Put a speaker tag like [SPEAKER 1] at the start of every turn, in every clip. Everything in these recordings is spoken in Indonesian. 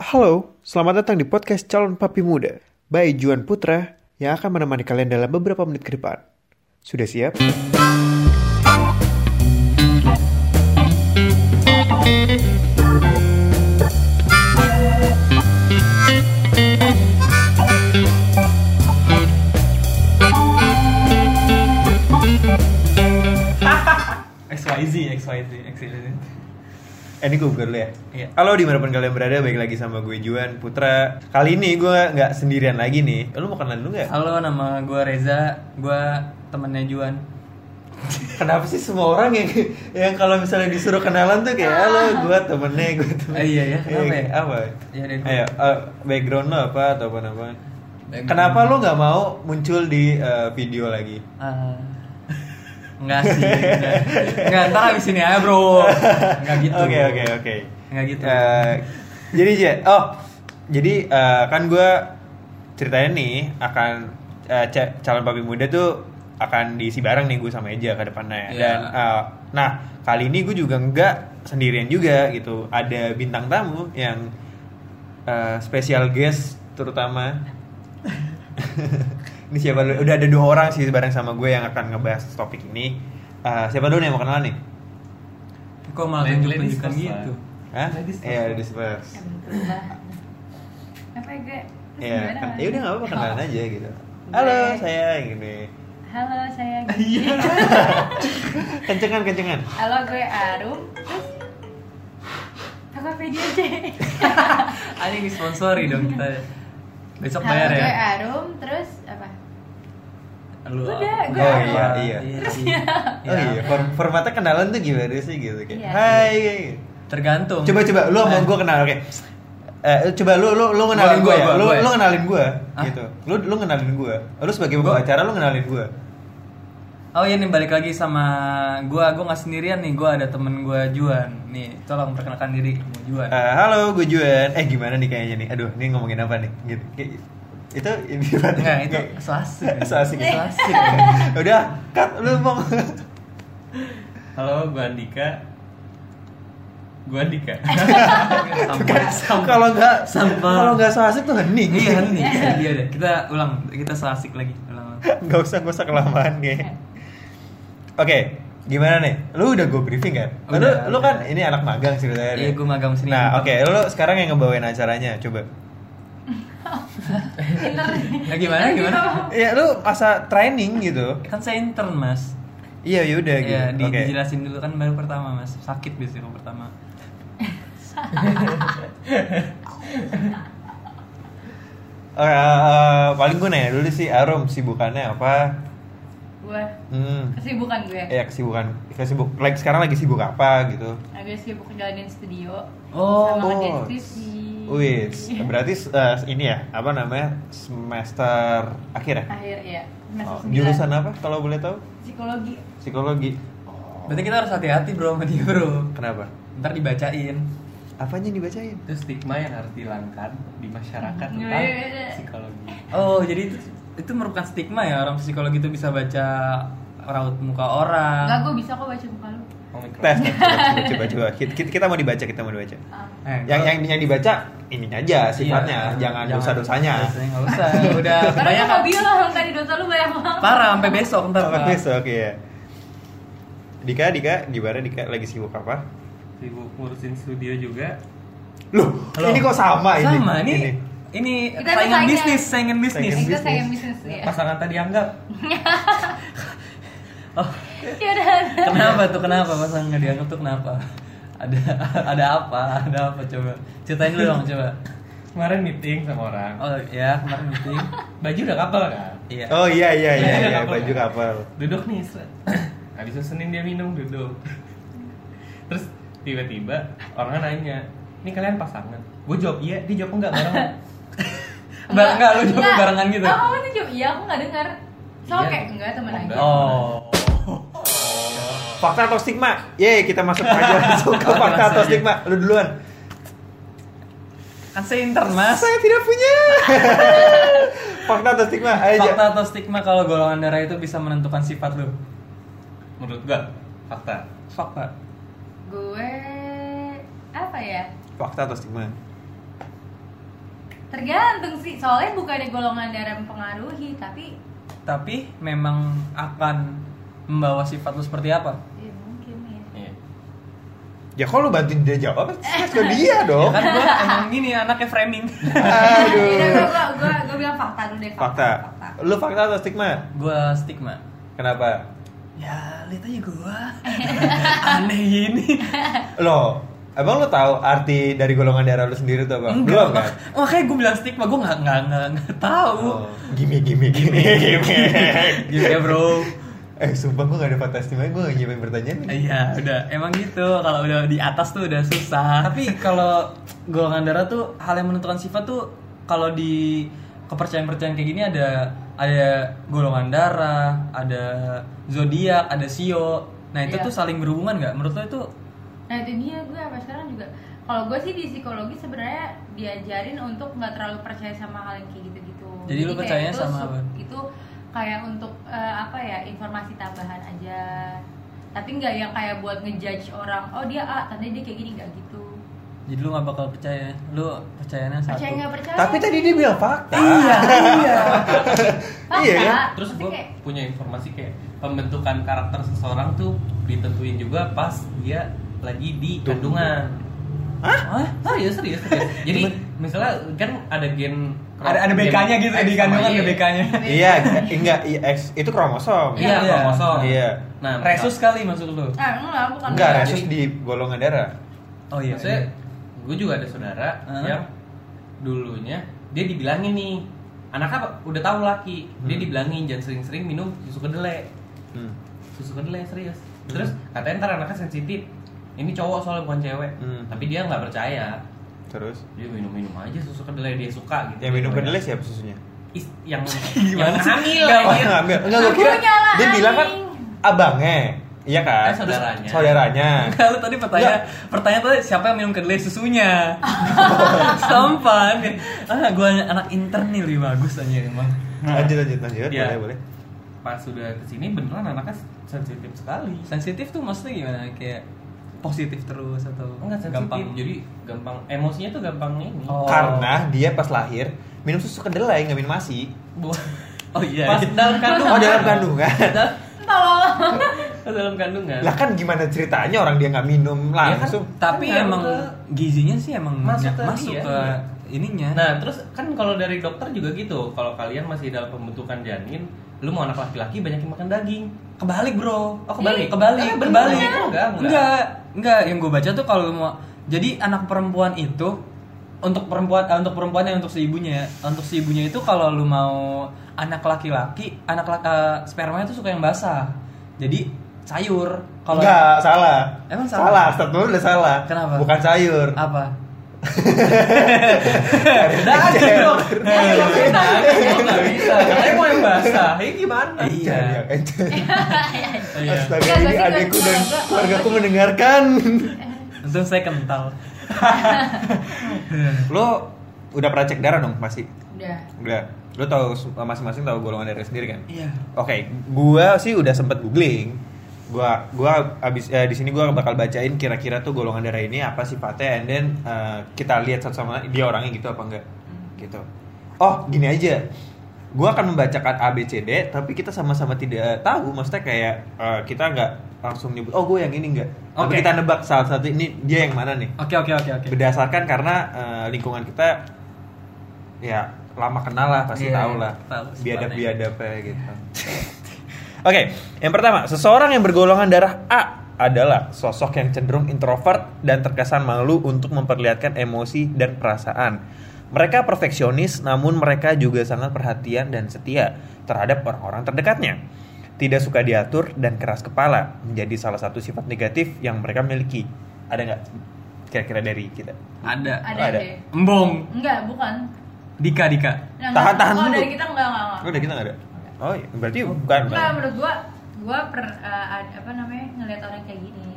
[SPEAKER 1] Halo, selamat datang di podcast Calon Papi Muda by Juan Putra yang akan menemani kalian dalam beberapa menit ke depan. Sudah siap?
[SPEAKER 2] XYZ, XYZ, XYZ.
[SPEAKER 1] Eh, ini gue buka dulu ya.
[SPEAKER 2] Iya.
[SPEAKER 1] Halo dimanapun kalian berada, baik lagi sama gue Juan Putra. Kali ini gue nggak sendirian lagi nih. Eh, Lu mau kenalan dulu nggak?
[SPEAKER 2] Halo, nama gue Reza, gue temennya Juan.
[SPEAKER 1] Kenapa sih semua orang yang yang kalau misalnya disuruh kenalan tuh kayak halo gue temennya gue temennya.
[SPEAKER 2] Eh, iya ya, kenapa ya?
[SPEAKER 1] Apa?
[SPEAKER 2] Iya, deh, gue.
[SPEAKER 1] Ayo, eh, background lo apa atau apa nama?
[SPEAKER 2] Background.
[SPEAKER 1] Kenapa lo nggak mau muncul di eh, video lagi?
[SPEAKER 2] Ah. Enggak sih, enggak. Enggak, ntar abis ini aja bro. Enggak gitu.
[SPEAKER 1] Oke oke oke.
[SPEAKER 2] Nggak gitu.
[SPEAKER 1] Eh, jadi Jet, oh jadi eh, kan gue ceritanya nih akan eh, ca- calon papi muda tuh akan diisi bareng nih gue sama Eja ke depannya.
[SPEAKER 2] Iya.
[SPEAKER 1] Dan eh, nah kali ini gue juga nggak sendirian juga gitu. Ada bintang tamu yang eh, spesial guest terutama. ini siapa dulu? Udah ada dua orang sih bareng sama gue yang akan ngebahas topik ini. Eh, siapa dulu nih yang mau kenalan nih?
[SPEAKER 2] Kok malah
[SPEAKER 3] Ladies
[SPEAKER 2] tunjuk-tunjukkan
[SPEAKER 3] first lah.
[SPEAKER 2] gitu?
[SPEAKER 1] Hah?
[SPEAKER 3] Ladies first.
[SPEAKER 1] Iya, ladies first.
[SPEAKER 4] apa ya gue Terus
[SPEAKER 1] Iya,
[SPEAKER 4] gimana,
[SPEAKER 1] kan,
[SPEAKER 4] Mas?
[SPEAKER 1] ya udah nggak apa-apa kenalan aja gitu. Halo,
[SPEAKER 4] Gue-
[SPEAKER 1] saya gini.
[SPEAKER 4] halo saya
[SPEAKER 2] Iya.
[SPEAKER 1] Kencengan, kencengan.
[SPEAKER 4] halo gue Arum terus Tokopedia aja
[SPEAKER 2] Anjing Ah, disponsori dong kita. Besok
[SPEAKER 4] halo
[SPEAKER 2] bayar ya.
[SPEAKER 4] gue Arum terus apa
[SPEAKER 2] Lu ah.
[SPEAKER 4] Udah,
[SPEAKER 2] apa?
[SPEAKER 4] gue Oh, apa? iya,
[SPEAKER 1] iya.
[SPEAKER 2] Iya,
[SPEAKER 1] Oh iya, form- formatnya kenalan tuh gimana sih gitu kayak.
[SPEAKER 4] Iya.
[SPEAKER 1] Hai. kayak gitu.
[SPEAKER 2] Tergantung.
[SPEAKER 1] Coba coba lu sama
[SPEAKER 2] Eh,
[SPEAKER 1] gue kenal oke. Eh, coba lu lu lu kenalin gue
[SPEAKER 2] Boleh, gua,
[SPEAKER 1] ya.
[SPEAKER 2] gua,
[SPEAKER 1] Lu
[SPEAKER 2] gua ya?
[SPEAKER 1] lu kenalin gue
[SPEAKER 2] Hah?
[SPEAKER 1] gitu. Lu lu kenalin gue. Lu sebagai
[SPEAKER 2] Gua-
[SPEAKER 1] pembawa acara lu kenalin gue.
[SPEAKER 2] Oh iya nih balik lagi sama gua, gua nggak sendirian nih, gua ada temen gua Juan. Nih, tolong perkenalkan diri, gua Juan.
[SPEAKER 1] Eh, halo, gue Juan. Eh gimana nih kayaknya nih? Aduh, ini ngomongin apa nih? Gitu. Kayak- Itu ini
[SPEAKER 2] Enggak, Nah, itu so asik.
[SPEAKER 1] So asik.
[SPEAKER 2] So asik.
[SPEAKER 1] Udah, cut lu mau.
[SPEAKER 3] Halo, gue Andika. Gue Andika.
[SPEAKER 2] Sampah.
[SPEAKER 1] Kan
[SPEAKER 2] Sampah.
[SPEAKER 1] Kalau nggak
[SPEAKER 2] Sampah.
[SPEAKER 1] kalau nggak so asik tuh hening.
[SPEAKER 2] Iya nih, iya deh. Kita ulang, kita so asik lagi. Ulang. ulang.
[SPEAKER 1] Gak usah, gak usah kelamaan kayaknya. Oke, gimana nih? Lu udah gue briefing kan? lu,
[SPEAKER 2] Udah,
[SPEAKER 1] lu kan
[SPEAKER 2] udah.
[SPEAKER 1] ini anak magang ceritanya.
[SPEAKER 2] Iya,
[SPEAKER 1] nih.
[SPEAKER 2] gua magang sini.
[SPEAKER 1] Nah, oke, lu sekarang yang ngebawain acaranya, coba.
[SPEAKER 2] Nah, gimana gimana?
[SPEAKER 1] Iya, lu masa training gitu.
[SPEAKER 2] Kan saya intern, Mas.
[SPEAKER 1] Iya, yaudah gitu.
[SPEAKER 2] Iya, di,
[SPEAKER 1] Oke.
[SPEAKER 2] dijelasin dulu kan baru pertama, Mas. Sakit biasanya kalau pertama.
[SPEAKER 1] Eh, eh, eh, paling gue nanya dulu sih, Arum sibukannya apa?
[SPEAKER 4] gue
[SPEAKER 1] Hmm.
[SPEAKER 4] kesibukan
[SPEAKER 2] Eh.
[SPEAKER 4] gue
[SPEAKER 1] Ya kesibukan, kesibuk. Like sekarang lagi sibuk apa gitu?
[SPEAKER 4] Nah, gue sibuk jalanin studio
[SPEAKER 2] Oh,
[SPEAKER 4] sama ngerjain
[SPEAKER 1] oh.
[SPEAKER 4] skripsi
[SPEAKER 1] Wih, berarti eh, ini ya, apa namanya? Semester akhir ya?
[SPEAKER 4] akhir ya
[SPEAKER 1] Oh,
[SPEAKER 4] semester sembilan.
[SPEAKER 1] jurusan apa kalau boleh tahu?
[SPEAKER 4] psikologi
[SPEAKER 1] Psikologi. Oh.
[SPEAKER 2] Berarti kita harus hati-hati, Bro, sama dia, Bro.
[SPEAKER 1] Kenapa?
[SPEAKER 2] Ntar dibacain.
[SPEAKER 1] Apanya yang dibacain?
[SPEAKER 3] itu stigma yang harus dihilangkan di masyarakat tentang
[SPEAKER 4] Nggak.
[SPEAKER 3] psikologi.
[SPEAKER 2] Oh, jadi itu, itu merupakan stigma ya orang psikologi itu bisa baca raut muka orang.
[SPEAKER 4] Enggak, gue bisa kok baca muka lu
[SPEAKER 3] Omikron.
[SPEAKER 1] Tes. Coba, coba, coba. Kita, kita- kita mau dibaca, kita mau dibaca.
[SPEAKER 4] Ah.
[SPEAKER 2] Eh,
[SPEAKER 1] Yang yang yang dibaca ininya aja sifatnya,
[SPEAKER 2] Iya,
[SPEAKER 1] jangan dosa-dosanya.
[SPEAKER 2] Dosanya nggak usah, udah
[SPEAKER 4] Karena gue
[SPEAKER 2] kebanyakan.
[SPEAKER 4] kan mau bilang tadi dosa lu banyak banget
[SPEAKER 2] Parah sampai besok ntar.
[SPEAKER 1] Sampai
[SPEAKER 2] Pak.
[SPEAKER 1] besok ya. Dika, Dika, gimana Dika lagi sibuk apa?
[SPEAKER 3] Sibuk ngurusin studio juga.
[SPEAKER 1] Loh,
[SPEAKER 2] Halo.
[SPEAKER 1] ini kok sama ini?
[SPEAKER 2] Sama ini. Ini
[SPEAKER 4] Kita ada
[SPEAKER 2] saingan
[SPEAKER 4] saingan.
[SPEAKER 2] bisnis, saingan bisnis.
[SPEAKER 1] Saingan
[SPEAKER 4] itu
[SPEAKER 1] bisnis.
[SPEAKER 4] saya bisnis ya
[SPEAKER 3] Pasangan tadi anggap.
[SPEAKER 2] Oh,
[SPEAKER 4] ya udah
[SPEAKER 2] kenapa tuh? Kenapa pasang nggak dianggap tuh kenapa? Ada ada apa? Ada apa coba? Ceritain dulu dong coba.
[SPEAKER 3] Kemarin meeting
[SPEAKER 1] Nah.
[SPEAKER 3] sama orang.
[SPEAKER 2] Oh ya kemarin meeting.
[SPEAKER 3] Baju udah kapal kan?
[SPEAKER 2] Iya.
[SPEAKER 1] Oh iya iya iya,
[SPEAKER 3] Iya,
[SPEAKER 1] iya,
[SPEAKER 3] kapal.
[SPEAKER 1] baju kapal.
[SPEAKER 3] Duduk nih. seret. Habis senin dia minum duduk. Terus tiba-tiba orangnya nanya, ini kalian pasangan? Gue jawab iya, dia jawab enggak bareng.
[SPEAKER 2] Bareng nggak lu coba
[SPEAKER 4] Enggak.
[SPEAKER 2] barengan gitu?
[SPEAKER 4] Oh, kamu tuh jawab iya, aku nggak dengar. Sama
[SPEAKER 3] Iya.
[SPEAKER 4] kayak enggak teman aja.
[SPEAKER 3] Enggak.
[SPEAKER 2] Oh.
[SPEAKER 1] Fakta atau stigma? Yeay, kita masuk aja langsung ke fakta atau stigma. Lu duluan.
[SPEAKER 2] Kan saya intern mas.
[SPEAKER 1] Saya tidak punya. Fakta atau stigma? Ayo aja.
[SPEAKER 2] Fakta atau stigma kalau golongan darah itu bisa menentukan sifat lu?
[SPEAKER 3] Menurut gue fakta.
[SPEAKER 2] Fakta.
[SPEAKER 4] Gue apa ya?
[SPEAKER 1] Fakta atau stigma?
[SPEAKER 4] Tergantung sih, soalnya bukannya golongan darah mempengaruhi, tapi
[SPEAKER 2] Tapi memang akan membawa sifat lu seperti apa?
[SPEAKER 4] ya mungkin ya.
[SPEAKER 3] Iya.
[SPEAKER 1] Ya kok lu bantuin dia jawab, terus ke dia dong.
[SPEAKER 2] Ya kan gua emang gini anaknya framing.
[SPEAKER 4] Yaudah,
[SPEAKER 1] Aduh.
[SPEAKER 4] gua, gua, gua, gua bilang fakta dulu deh,
[SPEAKER 1] Fakta. Lu fakta atau stigma?
[SPEAKER 2] gua stigma.
[SPEAKER 1] Kenapa?
[SPEAKER 2] Ya, lihat aja gua. Aneh gini.
[SPEAKER 1] Loh, emang lu tahu arti dari golongan darah lu sendiri tuh, Bang? Belum
[SPEAKER 2] Enggak,
[SPEAKER 1] kan?
[SPEAKER 2] mak- Makanya gua bilang stigma gua enggak enggak enggak, enggak tahu.
[SPEAKER 1] Oh, Gimik, gimik, gimik, gimik.
[SPEAKER 2] Gitu ya, Bro.
[SPEAKER 1] Eh, sumpah gue gak ada fakta stigma, gue gak nyiapin pertanyaan nih.
[SPEAKER 2] Iya, udah. Emang gitu. Kalau udah di atas tuh udah susah. Tapi kalau golongan darah tuh hal yang menentukan sifat tuh kalau di kepercayaan-percayaan kayak gini ada ada golongan darah, ada zodiak, ada sio. Nah, itu
[SPEAKER 4] Iya.
[SPEAKER 2] tuh saling berhubungan nggak? Menurut lo itu
[SPEAKER 4] Nah itu dia gue sampai sekarang juga. Kalau gue sih di psikologi sebenarnya diajarin untuk nggak terlalu percaya sama hal yang kayak gitu-gitu.
[SPEAKER 2] Jadi lu
[SPEAKER 4] kayak
[SPEAKER 2] percayanya
[SPEAKER 4] itu
[SPEAKER 2] sama
[SPEAKER 4] su-
[SPEAKER 2] apa?
[SPEAKER 4] Itu kayak untuk eh, apa ya informasi tambahan aja. Tapi nggak yang kayak buat ngejudge orang. Oh dia A, tandanya dia kayak gini nggak gitu.
[SPEAKER 2] jadi lu nggak bakal percaya. Lu percayanya satu.
[SPEAKER 4] Percaya nggak percaya?
[SPEAKER 1] Tapi tadi dia bilang fakta.
[SPEAKER 2] Iya, iya.
[SPEAKER 4] Fakta.
[SPEAKER 1] iya kan?
[SPEAKER 3] Terus
[SPEAKER 4] Maksudnya
[SPEAKER 3] gue
[SPEAKER 4] kayak-
[SPEAKER 3] punya informasi kayak pembentukan karakter seseorang tuh ditentuin juga pas dia lagi di
[SPEAKER 1] Tuh.
[SPEAKER 3] kandungan.
[SPEAKER 2] Hah?
[SPEAKER 3] Serius, serius, serius. Jadi misalnya kan ada gen
[SPEAKER 2] Ada- ada BK-nya gitu,
[SPEAKER 3] gen
[SPEAKER 2] di kandungan ada
[SPEAKER 3] sama Y.
[SPEAKER 2] BK-nya.
[SPEAKER 1] Iya, enggak, iya, X, itu kromosom.
[SPEAKER 3] Iya,
[SPEAKER 2] Iya.
[SPEAKER 3] kromosom.
[SPEAKER 1] Iya.
[SPEAKER 3] Nah,
[SPEAKER 2] Resus kali masuk lu.
[SPEAKER 4] Ah enggak, bukan.
[SPEAKER 1] Enggak,
[SPEAKER 3] Enggak,
[SPEAKER 1] resus
[SPEAKER 3] jadi-
[SPEAKER 1] di golongan darah.
[SPEAKER 2] Oh iya.
[SPEAKER 3] Maksudnya,
[SPEAKER 2] iya.
[SPEAKER 3] gue juga ada saudara
[SPEAKER 2] Heeh.
[SPEAKER 3] yang dulunya dia dibilangin nih anak apa udah tahu laki dia
[SPEAKER 1] Hmm.
[SPEAKER 3] dibilangin jangan sering-sering minum susu kedelai
[SPEAKER 1] Hmm.
[SPEAKER 3] susu kedelai serius terus katanya ntar anaknya sensitif ini cowok soalnya bukan cewek
[SPEAKER 1] Hmm.
[SPEAKER 3] tapi dia nggak percaya
[SPEAKER 1] Terus,
[SPEAKER 3] dia minum-minum aja susu kedelai dia suka gitu
[SPEAKER 1] yang minum
[SPEAKER 3] Pokoknya.
[SPEAKER 1] kedelai siapa susunya?
[SPEAKER 3] Is- yang
[SPEAKER 2] Gimana
[SPEAKER 3] yang
[SPEAKER 2] sih?
[SPEAKER 3] hamil
[SPEAKER 2] Gak
[SPEAKER 1] Oh,
[SPEAKER 3] anjir.
[SPEAKER 1] enggak, enggak, enggak, gue kira
[SPEAKER 4] Akunya lah,
[SPEAKER 1] dia bilang kan
[SPEAKER 4] anjing.
[SPEAKER 1] abangnya. Iya kan?
[SPEAKER 3] Eh, saudaranya.
[SPEAKER 1] Terus saudaranya.
[SPEAKER 2] Kalau tadi pertanyaan, pertanyaan tadi siapa yang minum kedelai susunya? Sampan. Ah, gua anak intern nih, lebih bagus aja emang.
[SPEAKER 1] Lanjut, lanjut, lanjut.
[SPEAKER 3] Iya.
[SPEAKER 1] Boleh, boleh.
[SPEAKER 3] pas sudah kesini beneran anaknya sensitif sekali
[SPEAKER 2] Sensitif tuh maksudnya gimana? Kayak positif terus atau
[SPEAKER 3] enggak sensitif
[SPEAKER 2] gampang?
[SPEAKER 3] jadi gampang emosinya tuh gampang ini
[SPEAKER 2] Oh.
[SPEAKER 1] Karena dia pas lahir minum susu kedelai, nggak minum ASI.
[SPEAKER 2] Oh iya.
[SPEAKER 3] pas dalam kandungan
[SPEAKER 1] Oh, dalam kandungan.
[SPEAKER 4] Tolol.
[SPEAKER 3] pas dalam kandungan
[SPEAKER 1] Lah kan gimana ceritanya orang dia nggak minum langsung.
[SPEAKER 2] Tapi
[SPEAKER 3] Kan
[SPEAKER 2] emang
[SPEAKER 3] ke-
[SPEAKER 2] gizinya sih emang nggak
[SPEAKER 3] Masuk ke
[SPEAKER 2] masuk
[SPEAKER 3] dia,
[SPEAKER 2] ke
[SPEAKER 3] iya.
[SPEAKER 2] ininya.
[SPEAKER 3] nah terus kan kalau dari dokter juga gitu kalau kalian masih dalam pembentukan janin lu mau anak laki-laki banyakin makan daging
[SPEAKER 2] kebalik, Bro.
[SPEAKER 3] Oh,
[SPEAKER 2] Ih,
[SPEAKER 3] kebalik?
[SPEAKER 2] kebalik,
[SPEAKER 3] Eh, bener.
[SPEAKER 2] kebalik.
[SPEAKER 3] Enggak, enggak.
[SPEAKER 2] Enggak, enggak. Yang gue baca tuh kalau mau jadi anak perempuan itu untuk perempuan eh, untuk perempuannya untuk si ibunya ya. Untuk si ibunya itu kalau lu mau anak laki-laki, anak laki, eh, spermanya tuh suka yang basah. Jadi sayur. Kalau
[SPEAKER 1] Enggak, salah.
[SPEAKER 2] Emang salah?
[SPEAKER 1] Salah, start dulu udah salah.
[SPEAKER 2] Kenapa?
[SPEAKER 1] Bukan sayur.
[SPEAKER 2] apa? Udah aja dong. Iya.
[SPEAKER 3] nggak bisa kalian mau yang basah ya gimana
[SPEAKER 2] Iya.
[SPEAKER 1] Jangan, jangan.
[SPEAKER 3] iya
[SPEAKER 1] ya, Astaga,
[SPEAKER 4] Enggak,
[SPEAKER 1] ini
[SPEAKER 4] tapi
[SPEAKER 1] adekku
[SPEAKER 4] gua-
[SPEAKER 1] dan
[SPEAKER 4] gua-
[SPEAKER 1] keluargaku mendengarkan.
[SPEAKER 2] Untung saya kental.
[SPEAKER 1] Lo udah pernah cek darah dong pasti?
[SPEAKER 4] Udah.
[SPEAKER 1] Udah. Lo tahu su- masing-masing tahu golongan darah sendiri kan?
[SPEAKER 2] Iya.
[SPEAKER 1] Oke, gua sih udah sempet googling. Gua gua abis eh, di sini gua bakal bacain kira-kira tuh golongan darah ini apa sifatnya and then eh, kita lihat satu sama lain, dia orangnya gitu apa enggak. Gitu. Oh, gini aja. Gua akan membacakan A B C D tapi kita sama-sama tidak tahu maksudnya kayak eh, kita nggak langsung nyebut oh gue yang ini enggak. Tapi
[SPEAKER 2] Oke.
[SPEAKER 1] kita nebak salah satu ini dia yang mana nih.
[SPEAKER 2] Oke oke oke oke.
[SPEAKER 1] Berdasarkan karena eh, lingkungan kita ya lama kenal lah pasti
[SPEAKER 2] Iya,
[SPEAKER 1] tahu lah.
[SPEAKER 2] tahu
[SPEAKER 1] Biadab
[SPEAKER 2] sifatnya.
[SPEAKER 1] biadabnya gitu. Oke, yang pertama, seseorang yang bergolongan darah A adalah sosok yang cenderung introvert dan terkesan malu untuk memperlihatkan emosi dan perasaan. Mereka perfeksionis, namun mereka juga sangat perhatian dan setia terhadap orang-orang terdekatnya. Tidak suka diatur dan keras kepala menjadi salah satu sifat negatif yang mereka miliki. Ada nggak kira-kira dari kita?
[SPEAKER 2] Ada.
[SPEAKER 4] Ada,
[SPEAKER 1] Ada.
[SPEAKER 4] deh.
[SPEAKER 2] Embong.
[SPEAKER 4] Enggak, bukan.
[SPEAKER 2] Dika Dika.
[SPEAKER 4] Nah,
[SPEAKER 1] Tahan,
[SPEAKER 4] enggak.
[SPEAKER 1] tahan
[SPEAKER 4] Oh,
[SPEAKER 1] dulu.
[SPEAKER 4] dari kita enggak, enggak, enggak.
[SPEAKER 1] Oh, dari kita nggak ada. Oh, iya. berarti bukan.
[SPEAKER 4] Enggak, menurut gua gua per eh, ad- apa namanya ngelihat orang kayak gini.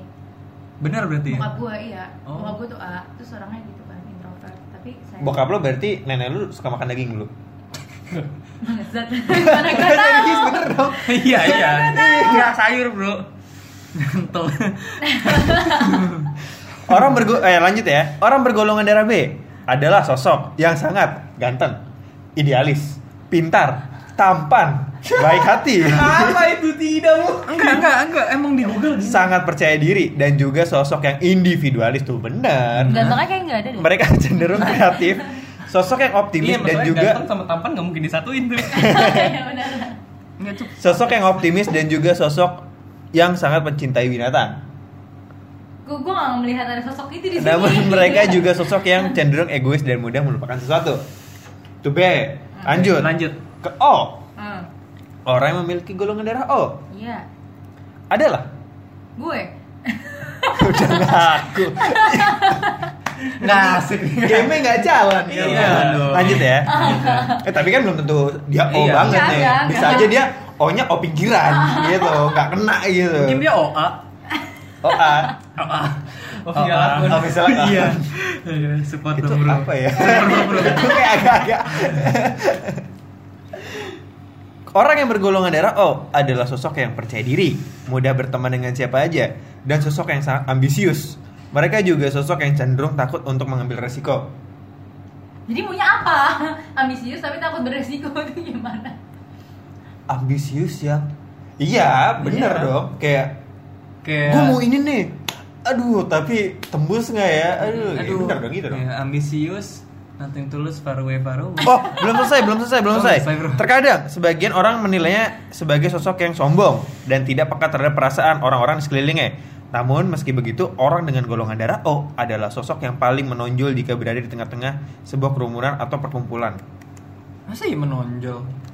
[SPEAKER 2] Benar berarti. ya?
[SPEAKER 4] Bokap gua iya.
[SPEAKER 2] Oh.
[SPEAKER 4] Bokap gua tuh A, terus orangnya gitu kan introvert. Tapi saya
[SPEAKER 1] Bokap lo berarti nenek lu suka makan daging dulu.
[SPEAKER 4] Bangsat. Mana gua tahu.
[SPEAKER 1] Iya, bener dong.
[SPEAKER 2] iya iya nggak sayur bro Kental.
[SPEAKER 1] Orang bergo eh lanjut ya. Orang bergolongan darah B adalah sosok yang sangat ganteng, idealis, pintar, tampan, baik hati,
[SPEAKER 3] Apa itu tidak mungkin?
[SPEAKER 2] Enggak, enggak, enggak. Emang di Google gitu.
[SPEAKER 1] sangat percaya diri dan juga sosok yang individualis tuh bener.
[SPEAKER 4] Gantengnya kayak nggak ada deh.
[SPEAKER 1] Mereka cenderung kreatif, sosok yang optimis dan
[SPEAKER 3] masalahnya
[SPEAKER 1] juga
[SPEAKER 3] Iya, ganteng sama tampan nggak mungkin disatuin tuh.
[SPEAKER 4] Iya, benar.
[SPEAKER 2] Enggak cukup.
[SPEAKER 1] sosok yang optimis dan juga sosok yang sangat mencintai binatang.
[SPEAKER 4] Gue gue nggak melihat ada sosok itu di sini. Gitu.
[SPEAKER 1] Namun Nah, mereka juga sosok yang cenderung egois dan mudah melupakan sesuatu. Tuh B, lanjut.
[SPEAKER 2] Lanjut.
[SPEAKER 1] Ke O,
[SPEAKER 4] Hmm,
[SPEAKER 1] orang yang memiliki golongan darah O
[SPEAKER 4] Iya,
[SPEAKER 1] adalah
[SPEAKER 4] gue.
[SPEAKER 1] udah ngaku
[SPEAKER 2] Enggak asik.
[SPEAKER 1] game nggak jalan
[SPEAKER 3] Iya.
[SPEAKER 1] Iya. lanjut ya eh tapi kan belum tentu dia o
[SPEAKER 3] Iya.
[SPEAKER 1] banget
[SPEAKER 4] Nggak,
[SPEAKER 1] nih
[SPEAKER 4] nggak,
[SPEAKER 1] bisa
[SPEAKER 4] nggak.
[SPEAKER 1] aja dia o nya o pinggiran gitu nggak kena gitu
[SPEAKER 2] Mungkin dia OA.
[SPEAKER 1] o a
[SPEAKER 2] OA.
[SPEAKER 3] Official akun.
[SPEAKER 1] oh, bisa lah.
[SPEAKER 2] Iya. Iya, support
[SPEAKER 1] itu
[SPEAKER 2] dong, bro.
[SPEAKER 1] apa ya
[SPEAKER 2] Support dong, bro.
[SPEAKER 1] Itu kayak agak-agak Orang yang bergolongan darah O adalah sosok yang percaya diri, mudah berteman dengan siapa aja, dan sosok yang sangat ambisius. Mereka juga sosok yang cenderung takut untuk mengambil resiko.
[SPEAKER 4] Jadi punya apa? Ambisius tapi takut beresiko itu gimana?
[SPEAKER 1] ambisius yang iya bener
[SPEAKER 2] Iya.
[SPEAKER 1] dong kayak
[SPEAKER 2] Kayak
[SPEAKER 1] gue mau ini nih aduh tapi tembus nggak ya aduh, ya bener dong gitu dong
[SPEAKER 2] Ya, ambisius, nothing tulus, far away, far away.
[SPEAKER 1] oh belum selesai belum selesai belum
[SPEAKER 2] Oh,
[SPEAKER 1] selesai
[SPEAKER 2] selesai, bro.
[SPEAKER 1] terkadang sebagian orang menilainya sebagai sosok yang sombong dan tidak peka terhadap perasaan orang-orang di sekelilingnya namun meski begitu orang dengan golongan darah O adalah sosok yang paling menonjol jika berada di tengah-tengah sebuah kerumunan atau perkumpulan
[SPEAKER 2] Masa ya menonjol?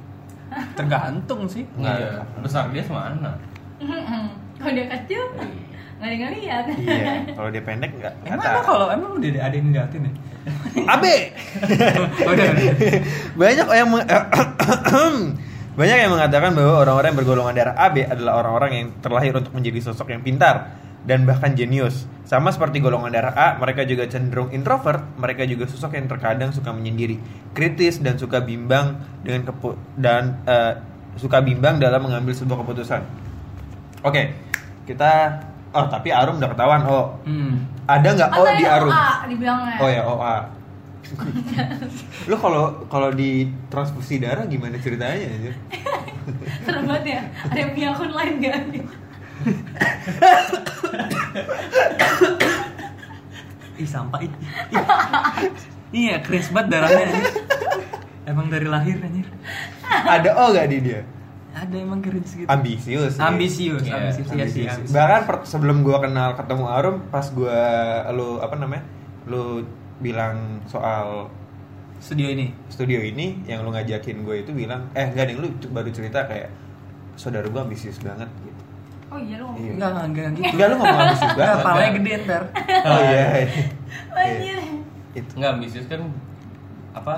[SPEAKER 2] Tergantung sih.
[SPEAKER 3] Nggak ada. Besar dia sama anak.
[SPEAKER 4] Kalau dia kecil nggak ada yang ngeliat.
[SPEAKER 1] iya kalau dia pendek nggak
[SPEAKER 2] Emang
[SPEAKER 1] kelihatan.
[SPEAKER 2] ada kalau emang udah ada yang ngeliatin ya?
[SPEAKER 1] Abe
[SPEAKER 2] Oh, udah.
[SPEAKER 1] banyak yang meng- banyak yang mengatakan bahwa orang-orang yang bergolongan darah AB adalah orang-orang yang terlahir untuk menjadi sosok yang pintar dan bahkan jenius. Sama seperti golongan darah A, mereka juga cenderung introvert, mereka juga sosok yang terkadang suka menyendiri, kritis dan suka bimbang dengan kepu dan eh, suka bimbang dalam mengambil sebuah keputusan. Oke, kita oh tapi Arum udah ketahuan oh
[SPEAKER 2] Hmm.
[SPEAKER 1] ada nggak oh
[SPEAKER 4] Atau
[SPEAKER 1] di
[SPEAKER 4] yang
[SPEAKER 1] Arum?
[SPEAKER 4] A dibilangnya.
[SPEAKER 1] Oh ya OA. Lu kalau kalau di transfusi darah gimana ceritanya anjir?
[SPEAKER 4] Serem banget ya. Ada yang punya akun lain nggak?
[SPEAKER 2] Ih sampah ih. Ih. Iya, keris banget darahnya. anjir. Emang dari lahir anjir.
[SPEAKER 1] Ada O gak di dia?
[SPEAKER 2] Ada emang keris gitu.
[SPEAKER 1] Ambisius. sih.
[SPEAKER 2] Ambisius,
[SPEAKER 3] Iya,
[SPEAKER 2] ambisius, iya sih,
[SPEAKER 1] Ambisius.
[SPEAKER 2] ambisius.
[SPEAKER 1] Bahkan per- sebelum gua kenal ketemu Arum pas gua lu apa namanya? Lu bilang soal
[SPEAKER 2] Studio ini.
[SPEAKER 1] studio ini yang lu ngajakin gue itu bilang eh gak yang lu c- baru cerita kayak saudara gua ambisius banget gitu.
[SPEAKER 4] Oh iya lu.
[SPEAKER 1] Iya.
[SPEAKER 2] Enggak, enggak, enggak gitu.
[SPEAKER 1] Enggak lu ngomong ambisius
[SPEAKER 2] Enggak,
[SPEAKER 1] banget.
[SPEAKER 2] palanya gede ntar.
[SPEAKER 1] Oh iya.
[SPEAKER 4] Anjir.
[SPEAKER 1] Itu.
[SPEAKER 3] Nggak ambisius kan apa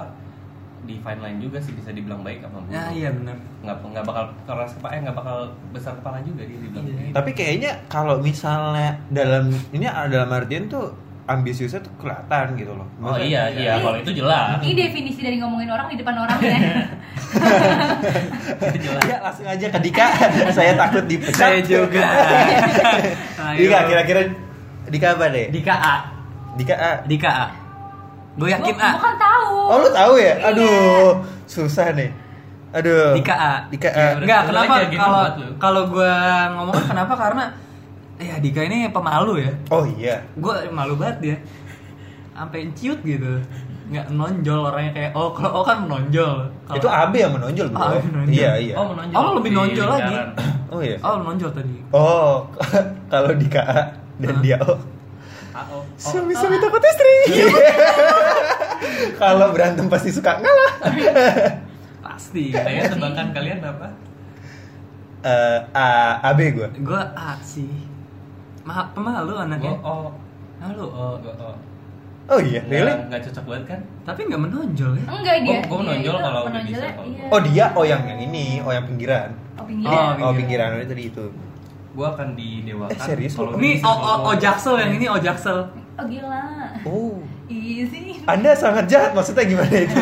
[SPEAKER 3] di fine line juga sih bisa dibilang baik apa buruk.
[SPEAKER 2] Nah, iya benar.
[SPEAKER 3] Nggak nggak bakal keras kepala, eh, nggak bakal besar kepala juga dia dibilang.
[SPEAKER 2] Iya.
[SPEAKER 3] Gitu.
[SPEAKER 1] Tapi kayaknya kalau misalnya dalam ini dalam artian tuh ambisiusnya tuh kelihatan gitu loh.
[SPEAKER 3] Oh iya iya
[SPEAKER 4] Iya.
[SPEAKER 3] kalau itu jelas.
[SPEAKER 4] Ini definisi dari ngomongin orang di depan orang ya.
[SPEAKER 3] Itu jelas.
[SPEAKER 1] Ya langsung aja ke Dika. Saya takut dipecat.
[SPEAKER 2] Iya, Saya juga. Ayo.
[SPEAKER 1] Dika kira-kira Dika apa deh?
[SPEAKER 2] di KA,
[SPEAKER 1] Dika A.
[SPEAKER 2] di KA. Gue yakin
[SPEAKER 4] Gua-
[SPEAKER 2] A.
[SPEAKER 4] gua kan tahu.
[SPEAKER 1] Oh lu tahu ya?
[SPEAKER 4] Iya.
[SPEAKER 1] Aduh, susah nih. Aduh.
[SPEAKER 2] Dika A.
[SPEAKER 1] Dika A.
[SPEAKER 3] Iya,
[SPEAKER 2] Enggak,
[SPEAKER 3] Lu
[SPEAKER 2] kenapa
[SPEAKER 3] aja gitu
[SPEAKER 2] kalau
[SPEAKER 3] buat lu.
[SPEAKER 2] kalau gue ngomong kenapa karena ya Dika ini pemalu ya.
[SPEAKER 1] Oh iya.
[SPEAKER 2] Gue malu banget dia. Sampai ciut gitu. Nggak menonjol orangnya kayak oh kalau oh kan menonjol. Kalau
[SPEAKER 1] Itu AB yang menonjol bro.
[SPEAKER 2] AB menonjol.
[SPEAKER 1] Iya iya.
[SPEAKER 3] Oh menonjol.
[SPEAKER 2] Oh, lebih
[SPEAKER 3] di
[SPEAKER 2] nonjol lagi.
[SPEAKER 3] lingkaran.
[SPEAKER 1] Oh iya.
[SPEAKER 2] Oh, menonjol tadi.
[SPEAKER 1] Oh, kalau Dika A dan
[SPEAKER 2] Hah?
[SPEAKER 1] dia O.
[SPEAKER 3] Ah, oh, oh.
[SPEAKER 1] Suami-suami takut istri. Kalau berantem pasti suka ngalah.
[SPEAKER 2] Pasti.
[SPEAKER 3] Saya sedangkan kalian apa?
[SPEAKER 1] eh A AB gue.
[SPEAKER 2] gue A sih. "Ah, Ma pemalu
[SPEAKER 3] Gue
[SPEAKER 2] anaknya.
[SPEAKER 3] oh,
[SPEAKER 2] Malu.
[SPEAKER 3] oh, gue oh.
[SPEAKER 1] Oh
[SPEAKER 3] Nah.
[SPEAKER 1] iya, really?
[SPEAKER 3] Nggak- Nggak cocok banget kan?
[SPEAKER 2] Tapi nggak menonjol ya.
[SPEAKER 4] Enggak dia.
[SPEAKER 3] Gua- gua
[SPEAKER 4] dia
[SPEAKER 3] menonjol
[SPEAKER 4] itu
[SPEAKER 3] kalau udah
[SPEAKER 4] menonjolnya,
[SPEAKER 3] bisa, kalau
[SPEAKER 4] iya.
[SPEAKER 1] Oh dia, oh yang yang ini, oh yang pinggiran.
[SPEAKER 4] Oh pinggiran.
[SPEAKER 2] Oh,
[SPEAKER 1] Oh
[SPEAKER 2] pinggiran.
[SPEAKER 1] pinggiran itu tadi itu.
[SPEAKER 3] Gue akan didewakan.
[SPEAKER 1] Eh, serius lu?
[SPEAKER 2] Ini
[SPEAKER 3] bisa
[SPEAKER 2] O O O
[SPEAKER 3] ngomong.
[SPEAKER 2] Jaksel yang ini O Jaksel.
[SPEAKER 4] Oh gila. Iya
[SPEAKER 1] Oh,
[SPEAKER 4] Easy.
[SPEAKER 1] Anda sangat jahat maksudnya gimana itu?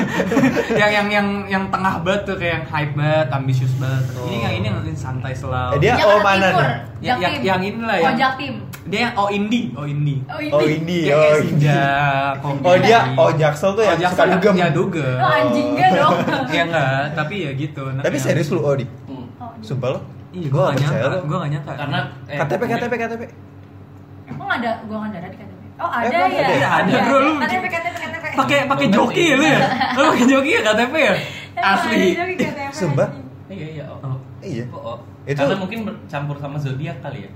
[SPEAKER 2] yang yang yang yang tengah banget tuh kayak yang hype banget, ambisius banget.
[SPEAKER 1] Oh.
[SPEAKER 2] Ini yang ini yang santai selalu.
[SPEAKER 1] Eh, dia
[SPEAKER 4] Jangan
[SPEAKER 1] O mana
[SPEAKER 4] timur.
[SPEAKER 1] nih?
[SPEAKER 2] Ya, yang-
[SPEAKER 4] Jaktim.
[SPEAKER 2] yang inilah ya.
[SPEAKER 4] Oh Jaktim.
[SPEAKER 2] dia yang oh indie oh indie
[SPEAKER 4] Oh ini.
[SPEAKER 1] Oh ini,
[SPEAKER 2] Dia
[SPEAKER 1] oh
[SPEAKER 2] kayak si
[SPEAKER 1] ini.
[SPEAKER 2] Ja- komedi.
[SPEAKER 1] Oh dia, oh Jaksel tuh
[SPEAKER 2] Oh,
[SPEAKER 1] yang
[SPEAKER 2] Jaksel
[SPEAKER 1] suka
[SPEAKER 2] yang-
[SPEAKER 1] dugem.
[SPEAKER 2] ya dugem
[SPEAKER 4] Lo Oh, anjing
[SPEAKER 1] Oh.
[SPEAKER 4] gak dong?
[SPEAKER 2] ya enggak tapi ya gitu Nah,
[SPEAKER 1] Tapi
[SPEAKER 3] iya.
[SPEAKER 2] yang-
[SPEAKER 1] serius lu Odi?
[SPEAKER 3] Hmm.
[SPEAKER 4] Oh, ini.
[SPEAKER 1] Sumpah lo?
[SPEAKER 2] iya gue gak nyangka
[SPEAKER 1] percaya lu.
[SPEAKER 2] gue gak nyangka
[SPEAKER 3] Karena eh,
[SPEAKER 1] KTP, KTP, KTP.
[SPEAKER 4] Emang ada golongan darah di KTP? Oh ada
[SPEAKER 1] Eh, Emang
[SPEAKER 4] ya?
[SPEAKER 1] ada?
[SPEAKER 2] Iya, ada, bro, lu-
[SPEAKER 4] KTP, KTP, KTP
[SPEAKER 2] pakai pakai
[SPEAKER 3] Dompet
[SPEAKER 2] joki
[SPEAKER 3] sih.
[SPEAKER 2] ya lu
[SPEAKER 4] Iya.
[SPEAKER 2] ya lu pakai joki ya KTP ya
[SPEAKER 4] Emang
[SPEAKER 2] asli
[SPEAKER 4] ada di KTP,
[SPEAKER 1] Sumpah.
[SPEAKER 4] anjing.
[SPEAKER 3] Iya iya. Oh.
[SPEAKER 2] Oh,
[SPEAKER 1] Iya.
[SPEAKER 3] Oh, oh.
[SPEAKER 1] Itu- Hmm.
[SPEAKER 3] Karena mungkin bercampur sama zodiak kali ya.